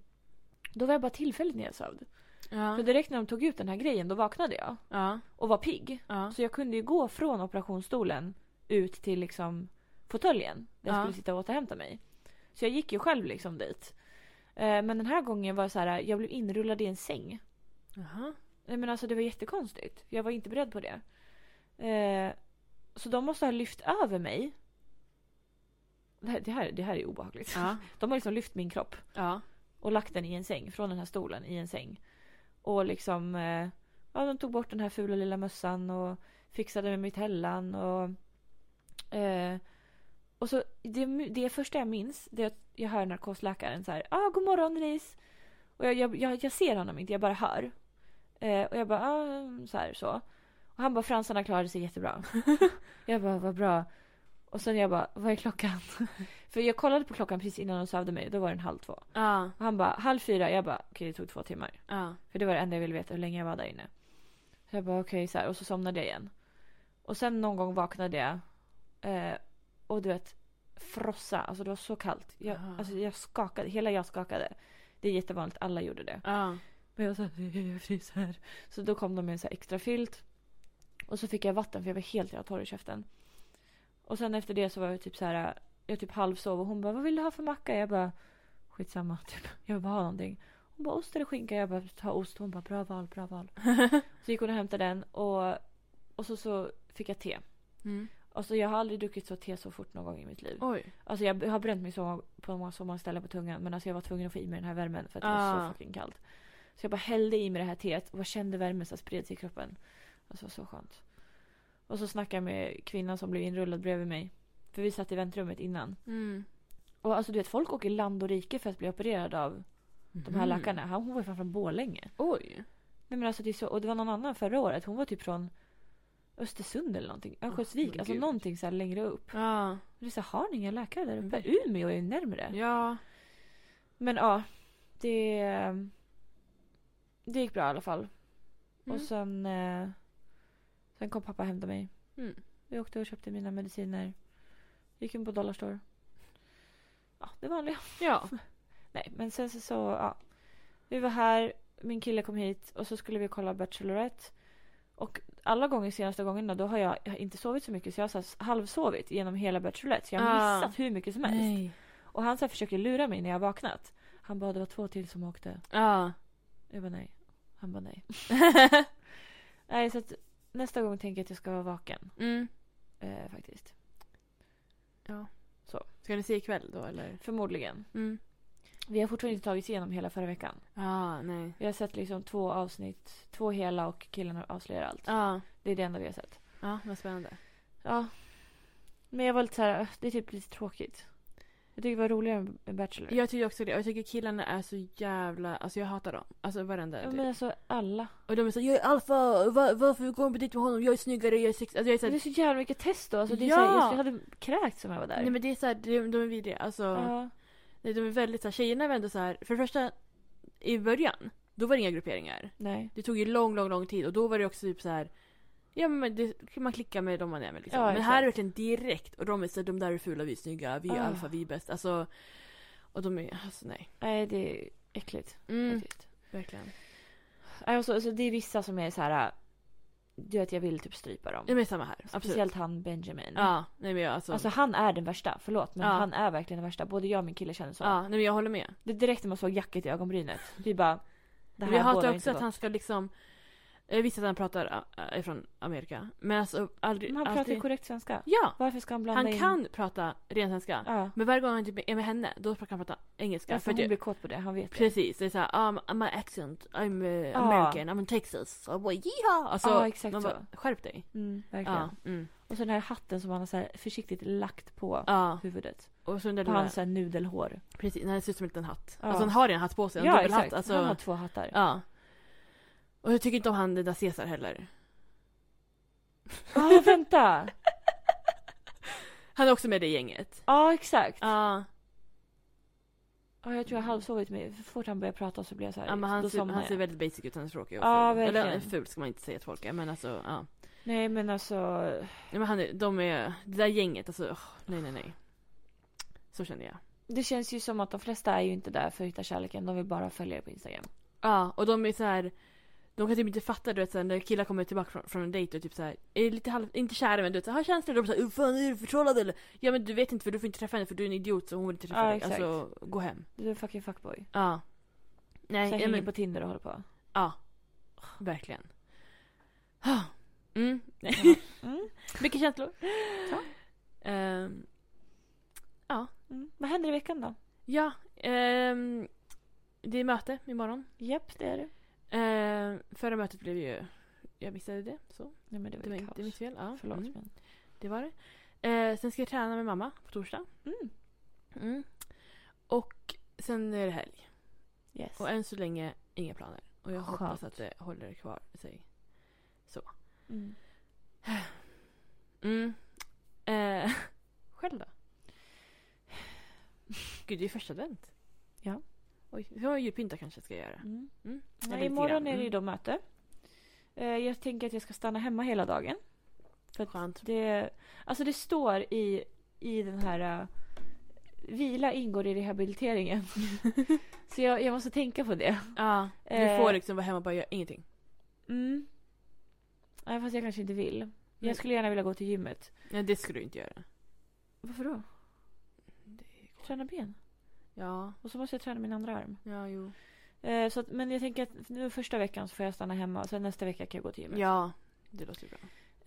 Speaker 1: Då var jag bara tillfälligt nedsövd.
Speaker 2: Ja.
Speaker 1: För direkt när de tog ut den här grejen då vaknade jag
Speaker 2: Ja.
Speaker 1: och var pigg.
Speaker 2: Ja.
Speaker 1: Så jag kunde ju gå från operationsstolen ut till liksom fåtöljen där jag
Speaker 2: Ja.
Speaker 1: skulle sitta och återhämta mig. Så jag gick ju själv liksom dit. Eh, Men den här gången var det så här, jag blev inrullad i en säng.
Speaker 2: Jaha.
Speaker 1: Nej, Men alltså det var jättekonstigt. Jag var inte beredd på det. Eh, Så de måste ha lyft över mig. Det här, det här, det här är obehagligt.
Speaker 2: Ja.
Speaker 1: De har liksom lyft min kropp
Speaker 2: Ja.
Speaker 1: och lagt den i en säng, från den här stolen i en säng. Och liksom, eh, ja de tog bort den här fula lilla mössan och fixade med mitt hällan och... Eh, och så det, det första jag minns, det är att jag hör narkosläkaren så här, ah god morgon Denise. Och jag, jag, jag, jag ser honom inte, jag bara hör. Eh, och jag bara, ah, så här så. Och han bara, fransarna klarade sig jättebra. (laughs) jag bara, vad bra. Och sen jag bara, vad är klockan? (laughs) För jag kollade på klockan precis innan de sövde mig, då var den halv två.
Speaker 2: Ja.
Speaker 1: Och han bara halv fyra, jag bara okej det tog två timmar.
Speaker 2: Ja.
Speaker 1: För det var det enda jag ville veta hur länge jag var där inne. Så jag bara okej så här och så somnade jag igen. Och sen någon gång vaknade jag. Eh, och du vet frossa, alltså det var så kallt. Jag,
Speaker 2: Aha.
Speaker 1: alltså, jag skakade, hela jag skakade. Det är jättevanligt, alla gjorde det.
Speaker 2: Ja.
Speaker 1: Men jag var så här, jag fryser. Så då kom de med en så här extra filt. Och så fick jag vatten för jag var helt jävla torr i käften. Och sen efter det så var jag typ så här, jag typ halvsov och hon bara vad vill du ha för macka? Jag bara skitsamma (laughs) typ. Jag vill bara ha någonting. Hon bara ost eller skinka? Jag bara ta ost. Hon bara bra val, bra val. så gick hon och hämtade den och, och så, så fick jag te.
Speaker 2: Mm.
Speaker 1: Alltså jag har aldrig druckit så te så fort någon gång i mitt liv.
Speaker 2: Oj.
Speaker 1: Alltså jag har bränt mig så, på många, så många ställen på tungan men alltså jag var tvungen att få i mig den här värmen för att det var
Speaker 2: Ah.
Speaker 1: så fucking kallt. Så jag bara hällde i mig det här teet och bara kände värmen som spred sig i kroppen. Alltså så skönt. Och så snackade jag med kvinnan som blev inrullad bredvid mig. För vi satt i väntrummet innan.
Speaker 2: Mm.
Speaker 1: Och alltså du vet folk åker land och rike för att bli opererad av de här
Speaker 2: Mhm.
Speaker 1: läkarna. Han, hon var ju fan från Borlänge.
Speaker 2: Oj.
Speaker 1: Nej men alltså det är så, och det var någon annan förra året. Hon var typ från Östersund eller någonting. Örnsköldsvik.
Speaker 2: men
Speaker 1: alltså
Speaker 2: gud.
Speaker 1: någonting så här längre upp.
Speaker 2: Ja.
Speaker 1: Det är så här, har ni inga läkare där uppe?
Speaker 2: Mm.
Speaker 1: Umeå är ju närmre.
Speaker 2: Ja.
Speaker 1: Men ja, det, det gick bra i alla fall.
Speaker 2: Mm.
Speaker 1: Och sen, eh, sen kom pappa och hämtade mig.
Speaker 2: Mm.
Speaker 1: Vi åkte och köpte mina mediciner. Gick in på Dollarstore. Ja, det vanliga.
Speaker 2: Ja.
Speaker 1: Nej, men sen så, så ja. Vi var här, min kille kom hit och så skulle vi kolla Bachelorette. Och alla gånger senaste gångerna då har jag, jag har inte sovit så mycket så jag har så här halvsovit genom hela Bachelorette. Så jag har
Speaker 2: Ah.
Speaker 1: missat hur mycket som helst. Och han så här försöker lura mig när jag har vaknat. Han bara, det var två till som åkte.
Speaker 2: Ja.
Speaker 1: Jag bara nej. Han bara
Speaker 2: (laughs)
Speaker 1: nej. nej så att nästa gång tänker jag att jag ska vara vaken.
Speaker 2: Mm.
Speaker 1: Eh, faktiskt.
Speaker 2: Ska ni se ikväll då eller?
Speaker 1: Förmodligen.
Speaker 2: Mm.
Speaker 1: Vi har fortfarande inte tagit igenom hela förra veckan.
Speaker 2: Ja, nej.
Speaker 1: Vi har sett liksom två avsnitt. Två hela och killen avslöjar allt.
Speaker 2: Ja.
Speaker 1: Det är det enda vi har sett.
Speaker 2: Ja, vad spännande.
Speaker 1: "Äh, Ja. Men jag var lite så här, "Öh, det är typ lite tråkigt. Jag tycker det var roligare med Bachelor.
Speaker 2: Jag tycker också det. Och jag tycker killarna är så jävla... Alltså jag hatar dem. Alltså varenda.
Speaker 1: Ja,
Speaker 2: typ.
Speaker 1: men alltså alla.
Speaker 2: Och de är såhär, jag är alfa, var, varför går du dit med honom? Jag är snyggare, jag är sex... Alltså jag är
Speaker 1: Det är
Speaker 2: såhär,
Speaker 1: så jävla mycket test då. Alltså, det är
Speaker 2: Ja!
Speaker 1: så här, jag hade kräkts om jag var där.
Speaker 2: nej men det är såhär, de, de är vidriga. Alltså,
Speaker 1: ja.
Speaker 2: nej, de är väldigt såhär, tjejerna var ändå såhär, för det första, i början, då var det inga grupperingar.
Speaker 1: Nej.
Speaker 2: Det tog ju lång, lång, lång tid och då var det också typ så här. Ja men det, man klickar med dem man är med liksom.
Speaker 1: Ja,
Speaker 2: men här är det
Speaker 1: exakt.
Speaker 2: verkligen direkt och de är såhär, de där är fula, vi är snygga, vi är
Speaker 1: Ah.
Speaker 2: alfa, vi är bäst. Alltså, och de är, alltså nej.
Speaker 1: Nej, det är äckligt.
Speaker 2: Mm.
Speaker 1: Faktiskt.
Speaker 2: Verkligen.
Speaker 1: Nej, och så- alltså, det är vissa som är så här. äh, Du vet, jag vill typ strypa dem.
Speaker 2: Ja men samma här, absolut.
Speaker 1: Speciellt han Benjamin.
Speaker 2: Ja, nej men jag alltså.
Speaker 1: Alltså han är den värsta, förlåt men
Speaker 2: Ja.
Speaker 1: han är verkligen den värsta. Både jag och min kille känner så.
Speaker 2: ja, nej men jag håller med.
Speaker 1: Det är direkt när man såg jacket i ögonbrynet. Vi bara... Det här
Speaker 2: jag
Speaker 1: bådar
Speaker 2: hatar
Speaker 1: inte
Speaker 2: också att
Speaker 1: gott.
Speaker 2: han ska liksom... Jag visste att han pratar äh, från Amerika. Men alltså aldrig...
Speaker 1: Men han pratar
Speaker 2: alltid-
Speaker 1: ju korrekt svenska.
Speaker 2: Ja!
Speaker 1: Varför ska han blanda
Speaker 2: Han
Speaker 1: in...
Speaker 2: kan prata ren svenska.
Speaker 1: Ja.
Speaker 2: Men varje gång han typ är med henne, då kan han prata engelska.
Speaker 1: Ja, för
Speaker 2: att
Speaker 1: hon
Speaker 2: jag-
Speaker 1: blir kåt på det, han vet det.
Speaker 2: Precis, det är såhär um, my accent, I'm uh,
Speaker 1: Ja.
Speaker 2: American, I'm in Texas, oh, boy, yeehaw! Alltså,
Speaker 1: Ah. Ja, exakt
Speaker 2: man
Speaker 1: så.
Speaker 2: bara, skärp dig.
Speaker 1: Mm, verkligen.
Speaker 2: Ja, mm.
Speaker 1: Och så den här hatten som han har så här försiktigt lagt på
Speaker 2: ja.
Speaker 1: huvudet.
Speaker 2: Och så den där
Speaker 1: På hans
Speaker 2: lilla,
Speaker 1: så här nudelhår.
Speaker 2: precis, den här ser ut som en liten hatt.
Speaker 1: Ja.
Speaker 2: Alltså han har ju en hatt på sig, en dubbelhatt. Alltså,
Speaker 1: Han har typ två hattar.
Speaker 2: Ja. Och jag tycker inte om han den där Caesar heller.
Speaker 1: Ja,
Speaker 2: (laughs)
Speaker 1: vänta!
Speaker 2: Han är också med i det gänget.
Speaker 1: Ja, exakt. Ja.
Speaker 2: Ja.
Speaker 1: jag tror jag halvsovit mig. Så fort han började prata så blev jag så här.
Speaker 2: Mm. Ja, men han,
Speaker 1: då
Speaker 2: ser,
Speaker 1: somnade
Speaker 2: han ser
Speaker 1: jag.
Speaker 2: väldigt basic ut, han är tråkig och
Speaker 1: Ja,
Speaker 2: ful. Eller
Speaker 1: verkligen.
Speaker 2: ful ska man inte säga att folk är, men alltså ja.
Speaker 1: Nej men alltså.
Speaker 2: Nej, men han är, de är, det där gänget alltså, åh, nej nej nej. Så känner jag.
Speaker 1: Det känns ju som att de flesta är ju inte där för att hitta kärleken. De vill bara följa det på Instagram.
Speaker 2: Ja, och de är så här. De kan typ inte fatta du vet såhär, när killar kommer tillbaka från, från en dejt och typ såhär, är lite halv, inte kära men du vet såhär, har känslor. De är såhär, "Uh, fan är du förtrollad eller? Ja men du vet inte för du får inte träffa henne för du är en idiot så hon vill inte träffa
Speaker 1: Ja,
Speaker 2: dig.
Speaker 1: exakt.
Speaker 2: Alltså gå hem.
Speaker 1: Du är fucking fuckboy.
Speaker 2: Ja. Nej,
Speaker 1: Sen
Speaker 2: ja,
Speaker 1: hänger
Speaker 2: men,
Speaker 1: på Tinder och håller på.
Speaker 2: ja. Verkligen. Ah. Mm. (laughs)
Speaker 1: Mm.
Speaker 2: Mycket känslor.
Speaker 1: Ja.
Speaker 2: Ehm,
Speaker 1: Mm. Vad händer i veckan då?
Speaker 2: ja, ehm, det är möte imorgon.
Speaker 1: Japp, det är det.
Speaker 2: Ehm, förra mötet blev ju... Jag missade det. Så.
Speaker 1: Nej men det var,
Speaker 2: Det var inte mitt
Speaker 1: kaos.
Speaker 2: fel. Ja.
Speaker 1: Förlåt
Speaker 2: Mm,
Speaker 1: men.
Speaker 2: det var det. Ehm, sen ska jag träna med mamma på torsdag.
Speaker 1: Mm.
Speaker 2: Och sen är det helg.
Speaker 1: Yes.
Speaker 2: Och än så länge inga planer. Och jag
Speaker 1: Skönt.
Speaker 2: hoppas att det håller kvar sig.
Speaker 1: Mm.
Speaker 2: Mm. Ehm, (laughs) själv då? (sighs) Gud, det är ju första advent.
Speaker 1: Ja.
Speaker 2: Oj, det var julpynta kanske jag ska göra.
Speaker 1: Mm.
Speaker 2: Mm. Eller
Speaker 1: Nej,
Speaker 2: lite
Speaker 1: imorgon
Speaker 2: grann.
Speaker 1: är det ju
Speaker 2: Mm.
Speaker 1: då möte. Eh, Jag tänker att jag ska stanna hemma hela dagen. För att
Speaker 2: Skönt.
Speaker 1: Det, alltså det står i, i den här... eh, vila ingår i rehabiliteringen.
Speaker 2: (laughs)
Speaker 1: så jag, jag måste tänka på det.
Speaker 2: Ja, du
Speaker 1: Eh,
Speaker 2: får liksom vara hemma och bara göra ingenting.
Speaker 1: Mm. Nej, fast jag kanske inte vill.
Speaker 2: Mm.
Speaker 1: Jag skulle gärna vilja gå till gymmet.
Speaker 2: Nej, det skulle du inte göra.
Speaker 1: Varför då?
Speaker 2: Det går.
Speaker 1: Träna ben.
Speaker 2: Ja,
Speaker 1: Och så måste jag träna min andra arm.
Speaker 2: ja, jo.
Speaker 1: Eh, så att, men jag tänker att nu första veckan så får jag stanna hemma. Sen nästa vecka kan jag gå till gymmet.
Speaker 2: Ja, det låter ju bra.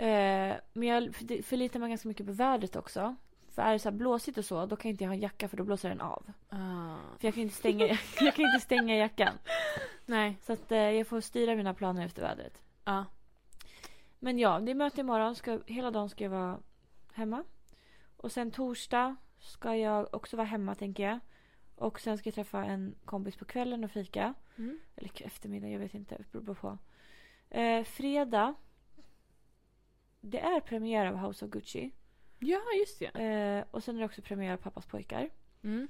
Speaker 1: Eh, men jag för- förlitar mig ganska mycket på vädret också. För är det så här blåsigt och så, då kan jag inte jag ha en jacka för då blåser den av.
Speaker 2: Ah.
Speaker 1: För jag kan inte stänga, (laughs) jag kan inte stänga jackan.
Speaker 2: Nej.
Speaker 1: Så att eh, jag får styra mina planer efter vädret.
Speaker 2: Ja.
Speaker 1: Men ja, det är möte imorgon. Ska, hela dagen ska jag vara hemma. Och sen torsdag ska jag också vara hemma tänker jag. Och sen ska jag träffa en kompis på kvällen och fika.
Speaker 2: Mm.
Speaker 1: Eller k- eftermiddag, jag vet inte. Det beror på. Eh, fredag. Det är premiär av House of Gucci.
Speaker 2: Ja, just det.
Speaker 1: Eh, och sen är det också premiär av Pappas pojkar.
Speaker 2: Mm.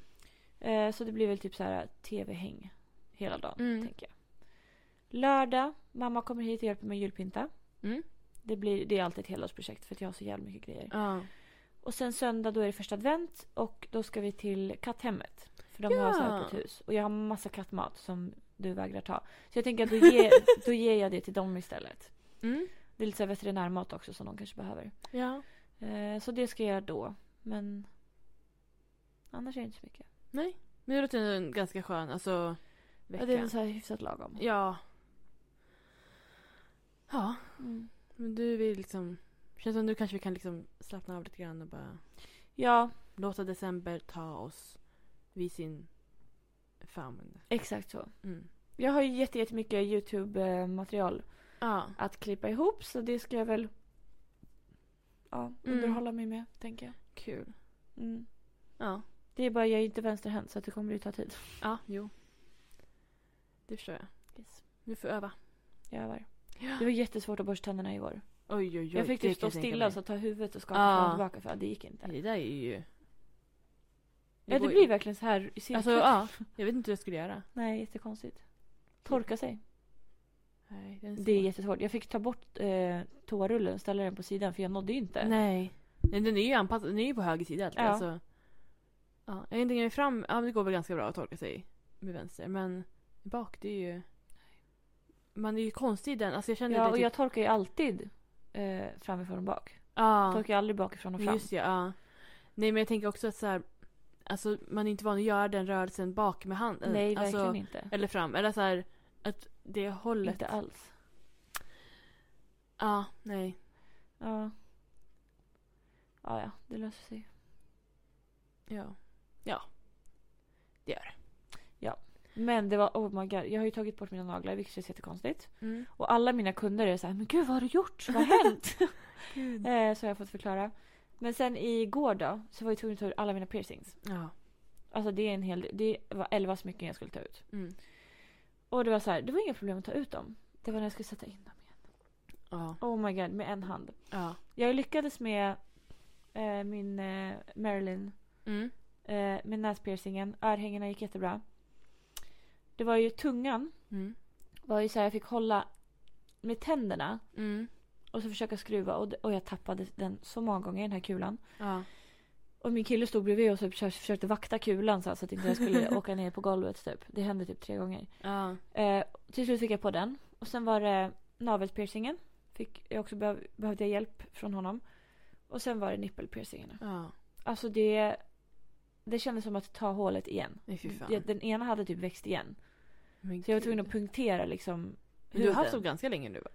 Speaker 1: Eh, så det blir väl typ så här tv-häng hela dagen,
Speaker 2: Mm.
Speaker 1: tänker jag. Lördag, mamma kommer hit och hjälper mig med julpynta.
Speaker 2: Mm.
Speaker 1: Det, blir, det är alltid ett helårsprojekt för att jag har så jävla mycket grejer.
Speaker 2: Ja.
Speaker 1: Och sen söndag då är det första advent och då ska vi till katthemmet. För de har
Speaker 2: Ja.
Speaker 1: så här öppet hus. Och jag har massa kattmat som du vägrar ta. Så jag tänker att då ger, då ger jag det till dem istället.
Speaker 2: Mm.
Speaker 1: Det är lite så här veterinärmat också som de kanske behöver.
Speaker 2: Ja.
Speaker 1: Eh, så det ska jag göra då. Men annars är det inte så mycket.
Speaker 2: Nej. Men det låter ändå en ganska skön, alltså, vecka.
Speaker 1: Ja, det är så här hyfsat lagom.
Speaker 2: Ja. Ja,
Speaker 1: Mm.
Speaker 2: men du vill liksom... Känns som nu kanske vi kan liksom slappna av lite grann och bara
Speaker 1: Ja,
Speaker 2: låta december ta oss vid sin famn.
Speaker 1: exakt så.
Speaker 2: Mm.
Speaker 1: Jag har ju jätte- jättemycket YouTube-material
Speaker 2: Ja.
Speaker 1: att klippa ihop så det ska jag väl ja,
Speaker 2: Mm.
Speaker 1: underhålla mig med, tänker jag.
Speaker 2: Kul.
Speaker 1: Mm.
Speaker 2: Ja.
Speaker 1: Det är bara, jag är inte vänsterhänt så att det kommer ju ta tid.
Speaker 2: Ja, jo. Det förstår jag. Du får öva.
Speaker 1: Jag övar.
Speaker 2: Ja.
Speaker 1: Det var jättesvårt att borsta tänderna i år.
Speaker 2: Oj, oj, oj.
Speaker 1: Jag fick
Speaker 2: det
Speaker 1: typ
Speaker 2: kan
Speaker 1: stå
Speaker 2: jag tänka
Speaker 1: stilla
Speaker 2: mig.
Speaker 1: och så ta huvudet och skaka
Speaker 2: Ja.
Speaker 1: fram och tillbaka för ja, det gick inte.
Speaker 2: Det där är ju...
Speaker 1: Ja det
Speaker 2: går ju-
Speaker 1: blir verkligen så här i cirklar.
Speaker 2: Alltså, ja. Jag vet inte hur jag skulle göra.
Speaker 1: Nej jättekonstigt. Torka sig.
Speaker 2: Nej, den
Speaker 1: Det är
Speaker 2: svår.
Speaker 1: jättesvårt. Jag fick ta bort eh, toarullen och ställa den på sidan för jag nådde ju inte.
Speaker 2: Nej. Nej, den är ju anpassad. Den är ju på höger sida alltid.
Speaker 1: Ja.
Speaker 2: Alltså. Ja, jag tänker mig fram. Ja, men det går väl ganska bra att torka sig med vänster. Men bak, det är ju... Man är ju konstig i den. Alltså jag känner
Speaker 1: Ja
Speaker 2: det
Speaker 1: och jag torkar ju alltid eh, framifrån och bak.
Speaker 2: Ja,
Speaker 1: Torkar aldrig bakifrån och fram.
Speaker 2: just ja, ja. Nej, men jag tänker också att så här... Alltså man är inte van att göra den rörelsen bak med handen.
Speaker 1: Nej
Speaker 2: alltså,
Speaker 1: verkligen inte.
Speaker 2: Eller fram. Eller så här... Att det hållet.
Speaker 1: Inte alls.
Speaker 2: Ja, nej.
Speaker 1: Ja. Ja ja, det löser sig.
Speaker 2: Ja.
Speaker 1: Men det var oh my god. Jag har ju tagit bort mina naglar vilket känns jättekonstigt.
Speaker 2: Mm.
Speaker 1: Och alla mina kunder är så här, men gud vad har du gjort? Vad har hänt? (laughs) Eh, så har jag fått förklara. Men sen igår då så var jag tvungen att ta ut alla mina piercings.
Speaker 2: Ja.
Speaker 1: Alltså det är en hel Det var 11 smycken jag skulle ta ut.
Speaker 2: Mm.
Speaker 1: Och det var så här, det var inga problem att ta ut dem. Det var när jag skulle sätta in dem igen.
Speaker 2: Ja.
Speaker 1: Oh my god, med en hand.
Speaker 2: Ja.
Speaker 1: Jag lyckades med eh, min eh, Marilyn,
Speaker 2: Mm.
Speaker 1: eh, med näspiercingen. Örhängena gick jättebra. Det var ju tungan,
Speaker 2: Mm.
Speaker 1: var ju så här, jag fick hålla med tänderna
Speaker 2: Mm.
Speaker 1: och så försöka skruva och, och jag tappade den så många gånger den här kulan.
Speaker 2: Ja.
Speaker 1: Och min kille stod bredvid och så försökte, försökte vakta kulan så, här, så att inte jag skulle åka ner på golvet typ. Det hände typ tre gånger.
Speaker 2: Ja.
Speaker 1: Eh, till slut fick jag på den. Och sen var det navelpiercingen. Fick jag också behöv, behövde jag hjälp från honom. Och sen var det nippelpiercingarna.
Speaker 2: Ja.
Speaker 1: Alltså det... Det kändes som att ta hålet igen.
Speaker 2: Nej fy fan.
Speaker 1: Det- Mm, Den ena hade typ växt igen.
Speaker 2: Men
Speaker 1: Så jag var tvungen
Speaker 2: gud.
Speaker 1: att punktera liksom
Speaker 2: Men Du har haft
Speaker 1: huden.
Speaker 2: dem ganska länge nu va?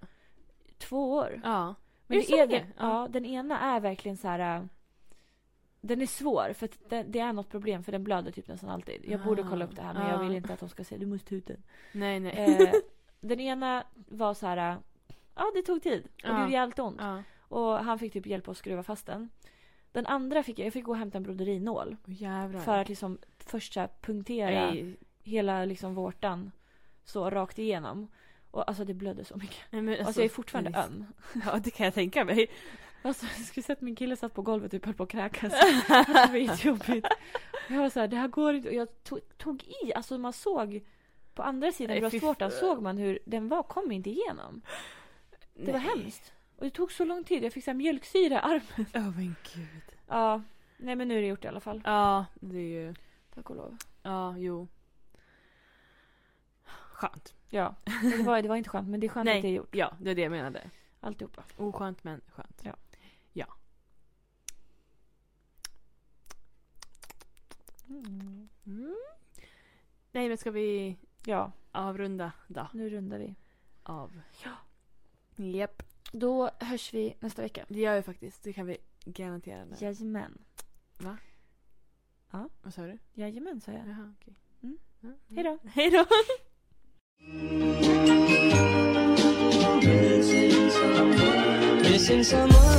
Speaker 1: två år.
Speaker 2: Ja.
Speaker 1: Men
Speaker 2: Är det
Speaker 1: det
Speaker 2: så
Speaker 1: är
Speaker 2: länge?
Speaker 1: den, ja, den ena är verkligen så här. äh, Den är svår för att det, det är något problem för den blöder typ nästan alltid. Jag borde
Speaker 2: Ah,
Speaker 1: kolla upp det här men
Speaker 2: ah.
Speaker 1: jag vill inte att de ska säga du måste ta ut
Speaker 2: (laughs)
Speaker 1: den.
Speaker 2: Nej nej.
Speaker 1: Eh, den ena var så här. äh, Ja, det tog tid och
Speaker 2: Ah.
Speaker 1: det gjorde jävligt ont.
Speaker 2: Ja.
Speaker 1: Och han fick typ hjälp att skruva fast den. Den andra fick jag, jag fick gå och hämta en broderinål.
Speaker 2: Åh, jävlar.
Speaker 1: För att liksom först så här punktera
Speaker 2: nej.
Speaker 1: hela liksom vårtan. Så rakt igenom. Och alltså det blödde så mycket.
Speaker 2: nej men alltså,
Speaker 1: alltså jag är fortfarande
Speaker 2: nej.
Speaker 1: öm.
Speaker 2: Ja det kan jag tänka mig.
Speaker 1: Alltså jag skulle sett min kille satt på golvet och typ höll på att (laughs) kräkas. Det var jättejobbigt. Jag var såhär, det här går inte. Och jag tog, tog i, alltså man såg på andra sidan
Speaker 2: Nej, fy
Speaker 1: bröstvårtan
Speaker 2: fan.
Speaker 1: såg man hur den var, kom inte igenom. Det var hemskt. Och det tog så lång tid, jag fick såhär mjölksyra i armen.
Speaker 2: Åh men gud.
Speaker 1: Ja, nej men nu är det gjort i alla fall.
Speaker 2: Ja det är ju.
Speaker 1: Tack och lov.
Speaker 2: Ja jo. Skönt.
Speaker 1: Ja, men det var, det var inte skönt men det är skönt
Speaker 2: Nej.
Speaker 1: att det är gjort.
Speaker 2: Ja det är det jag menade.
Speaker 1: Alltihopa.
Speaker 2: Oskönt men skönt.
Speaker 1: Ja.
Speaker 2: Ja.
Speaker 1: Mm.
Speaker 2: Mm. Nej men ska vi
Speaker 1: Ja,
Speaker 2: avrunda då?
Speaker 1: nu rundar vi.
Speaker 2: Av. Ja. Japp.
Speaker 1: Då hörs vi nästa vecka.
Speaker 2: Det gör vi faktiskt. Det kan vi garantera. nu.
Speaker 1: Jajamän.
Speaker 2: Vad sa du?
Speaker 1: Jajamän sa jag.
Speaker 2: Jaha okej.
Speaker 1: Mm.
Speaker 2: Ja, mm.
Speaker 1: Hej då.
Speaker 2: Hej då.
Speaker 3: Missing someone.